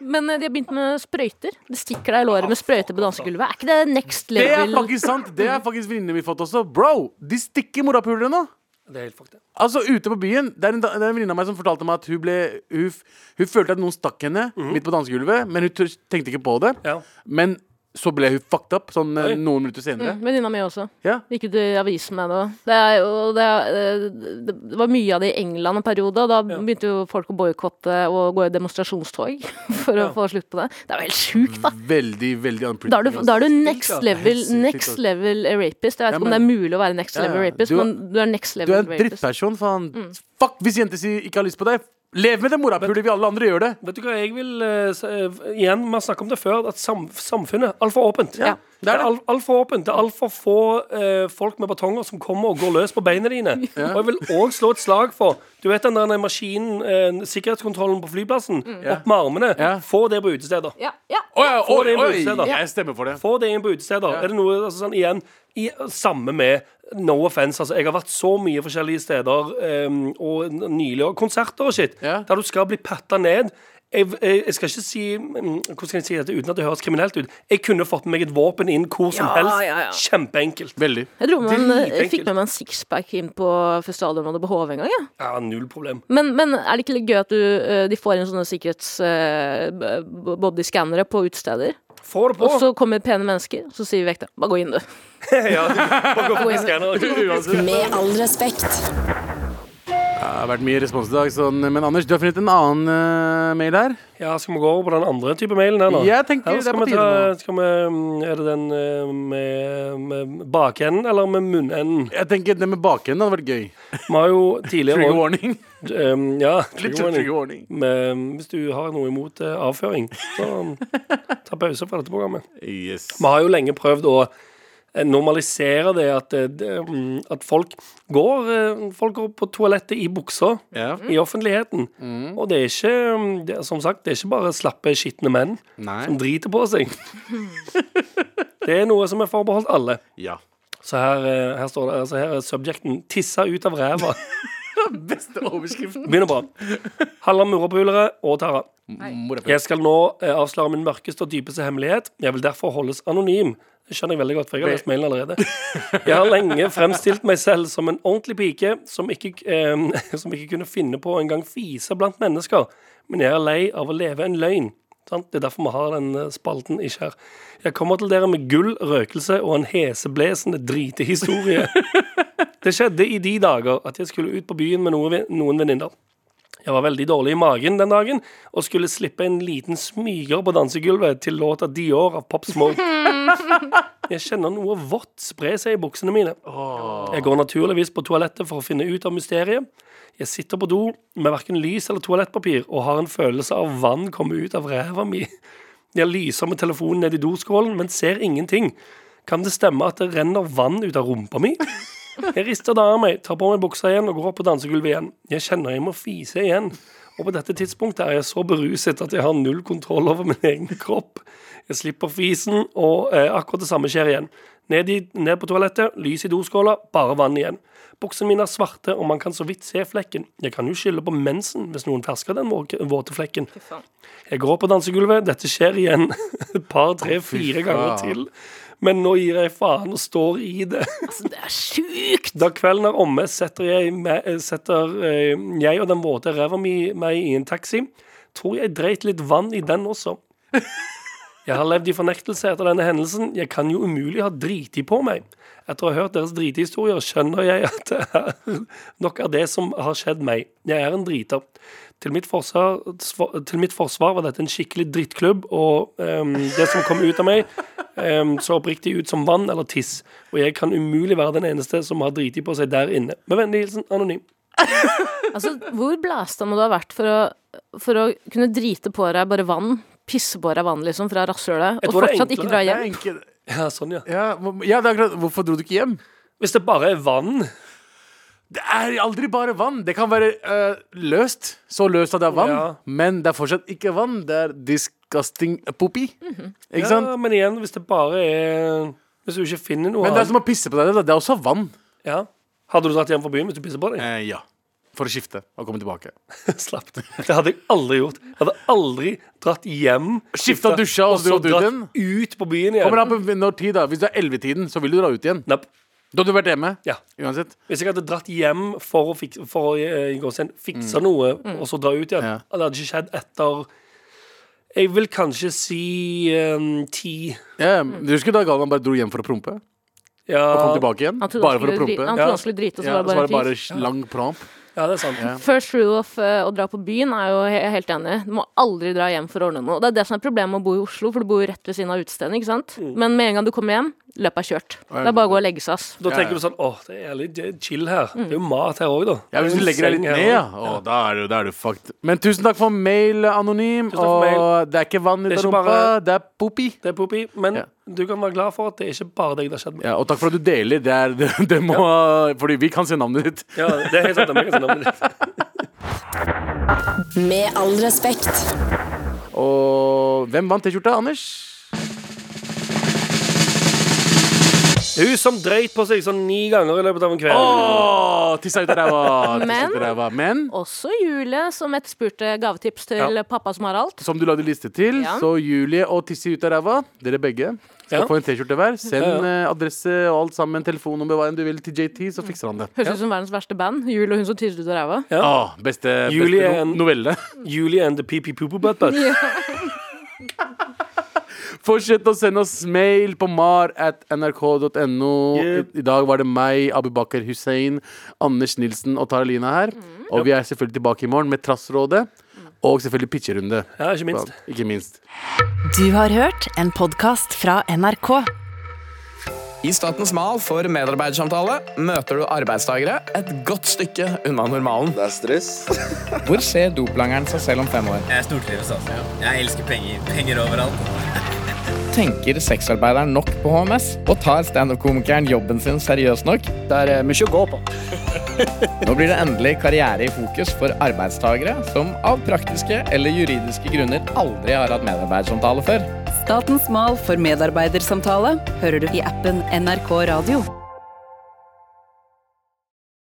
Speaker 4: Men eh, de har begynt med sprøyter. Det stikker deg i låret med sprøyter på dansegulvet. Er ikke det next
Speaker 2: Det er
Speaker 4: level?
Speaker 2: faktisk sant! Det er faktisk venninnene mine fått også. Bro, de stikker morapulere nå!
Speaker 3: Det er helt fucked.
Speaker 2: Altså ute på byen Det er en, da- det er en venninne av meg som fortalte meg at hun ble Hun, f- hun følte at noen stakk henne midt på dansegulvet, men hun tør- tenkte ikke på det.
Speaker 3: Mhm. Ja.
Speaker 2: Men så ble hun fucked up sånn eh,
Speaker 3: Oi.
Speaker 2: noen minutter senere.
Speaker 4: Venninna mi også.
Speaker 2: Ja.
Speaker 4: Gikk ut i avisen med det òg. Det, er jo- det, er- det var mye av det i England en periode, og da begynte jo folk å boikotte og gå i demonstrasjonstog for å få slutt på det. Det er jo helt sjukt, da!
Speaker 2: Veldig, veldig unpretty.
Speaker 4: Da er du, da er du next
Speaker 3: ass.
Speaker 4: level,
Speaker 2: sykt, ass.
Speaker 4: next level rapist. Jeg vet
Speaker 2: Ja,
Speaker 4: ikke om det er
Speaker 2: men-
Speaker 4: mulig å være next
Speaker 2: Ja, ja.
Speaker 4: level
Speaker 2: Du
Speaker 4: rapist,
Speaker 2: er-
Speaker 4: men du er next
Speaker 2: Du
Speaker 4: level
Speaker 2: er en
Speaker 4: rapist.
Speaker 2: drittperson, faen. Fuck hvis jenter sier ikke har lyst på deg. Lev med det morapulet vi alle andre gjør det.
Speaker 3: Vet du hva, jeg vil eh, s- eh, Igjen, vi har snakket om det før, at sam samfunnet er altfor åpent.
Speaker 2: Ja, det er det.
Speaker 3: al- altfor åpent. Det er altfor få eh, folk med batonger som kommer og går løs på beina dine. Og jeg vil òg slå et slag for Du vet den der maskinen, eh, sikkerhetskontrollen på flyplassen, opp med armene.
Speaker 2: Mm. Ja.
Speaker 3: Få det på utesteder.
Speaker 4: Ja, ja.
Speaker 2: Å ja,
Speaker 3: Få
Speaker 2: oi,
Speaker 3: det inn på
Speaker 2: oi,
Speaker 3: utestedet.
Speaker 2: jeg stemmer for det.
Speaker 3: Få det inn på utesteder. Er det noe altså, sånn igjen i, Samme med No offense. Altså, jeg har vært så mye forskjellige steder em, og n- nylig, og konserter og shit,
Speaker 2: Ja.
Speaker 3: der du skal bli patta ned. Jeg, jeg, jeg skal ikke si mm, Hvordan skal jeg si dette uten at det høres kriminelt ut? Jeg kunne fått med meg et våpen inn hvor som
Speaker 4: Ja,
Speaker 3: helst.
Speaker 4: ja, ja.
Speaker 3: Kjempeenkelt.
Speaker 2: Veldig.
Speaker 4: Jeg dro med en,
Speaker 3: Dritenkelt.
Speaker 4: jeg fikk med meg en sixpack inn på festivalområdet på HV en gang. Ja.
Speaker 3: Ja, null problem.
Speaker 4: Men, men er det ikke litt gøy at du, eh, de får inn sånne sikkerhets eh, b- bodyscannere på utesteder?
Speaker 3: Få det på!
Speaker 4: Og så kommer pene mennesker, så sier vi vekk det. Bare gå inn, du.
Speaker 3: ja, du, bare gå på skanneren.
Speaker 7: Med all respekt.
Speaker 2: Det har vært mye respons i dag, sånn. men Anders, du har funnet en annen eh, mail her.
Speaker 3: Ja, skal vi gå over på den andre type mailen her nå?
Speaker 2: Jeg tenker
Speaker 3: Eller
Speaker 2: det er
Speaker 3: skal
Speaker 2: på
Speaker 3: vi ta,
Speaker 2: tide nå.
Speaker 3: skal vi, mm, er det den eh, med, med bakenden eller med munnenden?
Speaker 2: Jeg tenker Det med bakenden hadde vært gøy.
Speaker 3: Vi har jo tidligere
Speaker 2: Trigger
Speaker 3: også-
Speaker 2: warning.
Speaker 3: em, ja,
Speaker 2: Litt
Speaker 3: trigger warning.
Speaker 2: trigger warning.
Speaker 3: Men hvis du har noe imot eh, avføring, så mm, ta pause fra dette programmet.
Speaker 2: Yes.
Speaker 3: Vi har jo lenge prøvd å eh, normalisere det at, eh, det, mm, at folk, går, eh, folk går på toalettet i buksa
Speaker 2: Ja.
Speaker 3: i offentligheten. Og det er ikke mm, det er, som sagt, det er ikke bare slappe, skitne menn
Speaker 2: Nei.
Speaker 3: som driter på seg. det er noe som er forbeholdt alle.
Speaker 2: Ja.
Speaker 3: Så her, eh, her står det, altså her er subjekten 'tissa ut av ræva'.
Speaker 2: Beste overskriften.
Speaker 3: Begynner bra. Halla, murapulere og Tara.
Speaker 2: Morapul.
Speaker 3: Jeg skal nå eh, avsløre min mørkeste og dypeste hemmelighet. Jeg vil derfor holdes anonym. Det skjønner jeg veldig godt, for jeg har lest mailen allerede. Jeg har lenge fremstilt meg selv som en ordentlig pike som ikke, eh, som ikke kunne finne på å engang fise blant mennesker. Men jeg er lei av å leve en løgn. Sant? Det er derfor vi har den eh, spalten ikke her. Jeg kommer til dere med gull, røkelse og en heseblesende dritehistorie. Det skjedde i de dager at jeg skulle ut på byen med noen, noen venninner. Jeg var veldig dårlig i magen den dagen og skulle slippe en liten smyger på dansegulvet til låta Dior av Pop Smoke. Jeg kjenner noe vått spre seg i buksene mine. Jeg går naturligvis på toalettet for å finne ut av mysteriet. Jeg sitter på do med verken lys eller toalettpapir og har en følelse av vann komme ut av ræva mi. Jeg lyser med telefonen ned i doskålen, men ser ingenting. Kan det stemme at det renner vann ut av rumpa mi? Jeg rister det av meg, tar på meg buksa igjen og går opp på dansegulvet igjen. Jeg kjenner jeg må fise igjen. Og på dette tidspunktet er jeg så beruset at jeg har null kontroll over min egen kropp. Jeg slipper fisen, og eh, akkurat det samme skjer igjen. Ned, i, ned på toalettet, lys i doskåla, bare vann igjen. Buksene mine er svarte, og man kan så vidt se flekken. Jeg kan jo skylde på mensen hvis noen fersker den våke- våte flekken. Jeg går opp på dansegulvet, dette skjer igjen et par, tre, fire ganger til. Men nå gir jeg faen og står i det.
Speaker 4: Altså, det er sjukt!
Speaker 3: Da kvelden er omme, setter jeg, me- eh, setter eh, jeg og den våte ræva mi meg i en taxi. Tror jeg dreit litt vann i den også. Jeg har levd i fornektelse etter denne hendelsen. Jeg kan jo umulig ha driti på meg. Etter å ha hørt deres dritehistorier skjønner jeg at det er nok er det som har skjedd meg. Jeg er en driter. Til mitt forsvar, til mitt forsvar var dette en skikkelig drittklubb, og ehm, det som kom ut av meg, ehm, så oppriktig ut som vann eller tiss. Og jeg kan umulig være den eneste som har driti på seg der inne. Med vennlig hilsen anonym.
Speaker 4: Altså, hvor blæsta må du ha vært for å, for å kunne drite på deg bare vann, pisse på deg vann liksom fra rasshølet,
Speaker 3: Jeg
Speaker 4: og
Speaker 3: tror det er
Speaker 4: fortsatt ikke
Speaker 3: enklere.
Speaker 4: dra
Speaker 2: Det er
Speaker 4: hjem?
Speaker 2: enkelt.
Speaker 3: Ja, sånn, ja.
Speaker 2: Ja, hvor- ja, det er akkurat Hvorfor dro du ikke hjem?
Speaker 3: Hvis det bare er vann
Speaker 2: Det er aldri bare vann. Det kan være eh, løst. Så løst at det er vann,
Speaker 3: Ja.
Speaker 2: men det er fortsatt ikke vann. Det er disgusting poopy. Ikke sant?
Speaker 3: Ja, men igjen, hvis det bare er Hvis du ikke finner noe
Speaker 2: Men det er som å pisse på deg. da. Det er også vann.
Speaker 3: Ja. Hadde du dratt hjem fra byen hvis du pisser på deg?
Speaker 2: Eh, ja. For å skifte og komme tilbake.
Speaker 3: Slapp det. Det hadde jeg aldri gjort. Jeg hadde aldri dratt hjem,
Speaker 2: Skifta dusja og så
Speaker 3: så
Speaker 2: dratt ut
Speaker 3: dratt
Speaker 2: igjen.
Speaker 3: ut på byen igjen.
Speaker 2: Kommer an på når tid, da. Hvis du er 11-tiden, så vil du dra ut igjen.
Speaker 3: Nepp.
Speaker 2: Da hadde du vært hjemme.
Speaker 3: Ja.
Speaker 2: Uansett.
Speaker 3: Hvis jeg hadde dratt hjem for å, fik for å eh, i går sen, fikse noe, og så dra ut igjen
Speaker 2: Mm. Ja.
Speaker 3: Det hadde ikke skjedd etter Jeg vil kanskje si eh, ti.
Speaker 2: Ja, du husker da Galvan bare dro hjem for å prompe?
Speaker 3: Ja,
Speaker 2: Og kom tilbake igjen?
Speaker 4: Han trodde
Speaker 2: Bare
Speaker 4: han
Speaker 2: for å
Speaker 4: skulle dri-
Speaker 2: prompe?
Speaker 4: Han
Speaker 2: Ja.
Speaker 4: trodde han skulle drite, og så
Speaker 2: Ja, og så
Speaker 4: var
Speaker 2: var
Speaker 4: det bare en
Speaker 2: det bare lang promp.
Speaker 3: Ja, det er sant.
Speaker 4: First rule of eh, å dra på byen er jo he- jeg er helt enig. Du må aldri dra hjem for å ordne noe. Det er det som er problemet med å bo i Oslo, for du bor jo rett ved siden av utestedet. ikke sant?
Speaker 3: Mm.
Speaker 4: Men med en gang du kommer hjem, løpet er kjørt. Det er bare å gå og legge seg, ass.
Speaker 3: Da tenker du sånn Åh, det er litt det er chill her. Det er jo mat her òg, da.
Speaker 2: Ja, Hvis du legger deg litt ned, ja. Å, da, er du, da er du fucked. Men tusen takk for mail, eh, anonym.
Speaker 3: takk for
Speaker 2: og
Speaker 3: mail.
Speaker 2: det er ikke vann ut
Speaker 3: Det er
Speaker 2: av
Speaker 3: ikke
Speaker 2: rumpa,
Speaker 3: bare-
Speaker 2: det er popi.
Speaker 3: Det er popi, men
Speaker 2: Ja.
Speaker 3: du kan være glad for at det er ikke bare deg det har skjedd med.
Speaker 2: Ja, og takk for at du deler. Det er, det, det må, Fordi vi kan se navnet ditt.
Speaker 3: Ja, det er helt sant. det er meg som navnet ditt.
Speaker 7: Med all respekt.
Speaker 2: Og hvem vant T-skjorta, Anders?
Speaker 3: Hun som drøyt på seg sånn ni ganger i løpet av en kveld.
Speaker 2: Åh, tissa ut av ræva! tissa
Speaker 4: Men-
Speaker 2: ut av ræva. Men
Speaker 4: Også Julie, som etterspurte gavetips til
Speaker 3: Ja.
Speaker 4: pappa som har alt.
Speaker 2: som du lagde liste til,
Speaker 4: Ja.
Speaker 2: så Julie og Tissi ut av ræva, dere begge, skal
Speaker 3: Ja.
Speaker 2: få en T-skjorte hver. Send
Speaker 3: Ja,
Speaker 2: eh, adresse og alt sammen, telefonnummer, hva enn du vil, til JT, så fikser han det.
Speaker 4: Høres ut som verdens verste band. Julie og hun som tyter ut av ræva.
Speaker 3: Ja.
Speaker 2: Åh, beste,
Speaker 3: Julie
Speaker 2: beste
Speaker 3: er
Speaker 2: no
Speaker 3: en-
Speaker 2: novelle.
Speaker 3: Julie and the PP Poopoo Butt Butt.
Speaker 2: Fortsett å sende oss mail på mar at nrk.no.
Speaker 3: Yep.
Speaker 2: I dag var det meg, Abubakar Hussein, Anders Nilsen og Taralina her.
Speaker 4: Mm.
Speaker 2: Og vi er selvfølgelig tilbake i morgen med Trassrådet og selvfølgelig pitcherunde.
Speaker 3: Ja, ikke minst.
Speaker 2: Ikke minst.
Speaker 1: Du har hørt en podkast fra NRK.
Speaker 9: I Statens Mal for medarbeidersamtale møter du arbeidstagere et godt stykke unna normalen.
Speaker 8: Det er stress.
Speaker 9: Hvor ser doplangeren seg selv om fem år?
Speaker 5: Jeg stortrives, altså. Jeg elsker penger. Penger overalt.
Speaker 9: Tenker sexarbeideren nok på HMS? Og tar standup-komikeren jobben sin seriøst nok?
Speaker 10: Det er eh, mye å gå på.
Speaker 9: Nå blir det endelig karriere i fokus for arbeidstagere som av praktiske eller juridiske grunner aldri har hatt medarbeidersamtale før.
Speaker 7: Statens mal for medarbeidersamtale hører du i appen NRK Radio.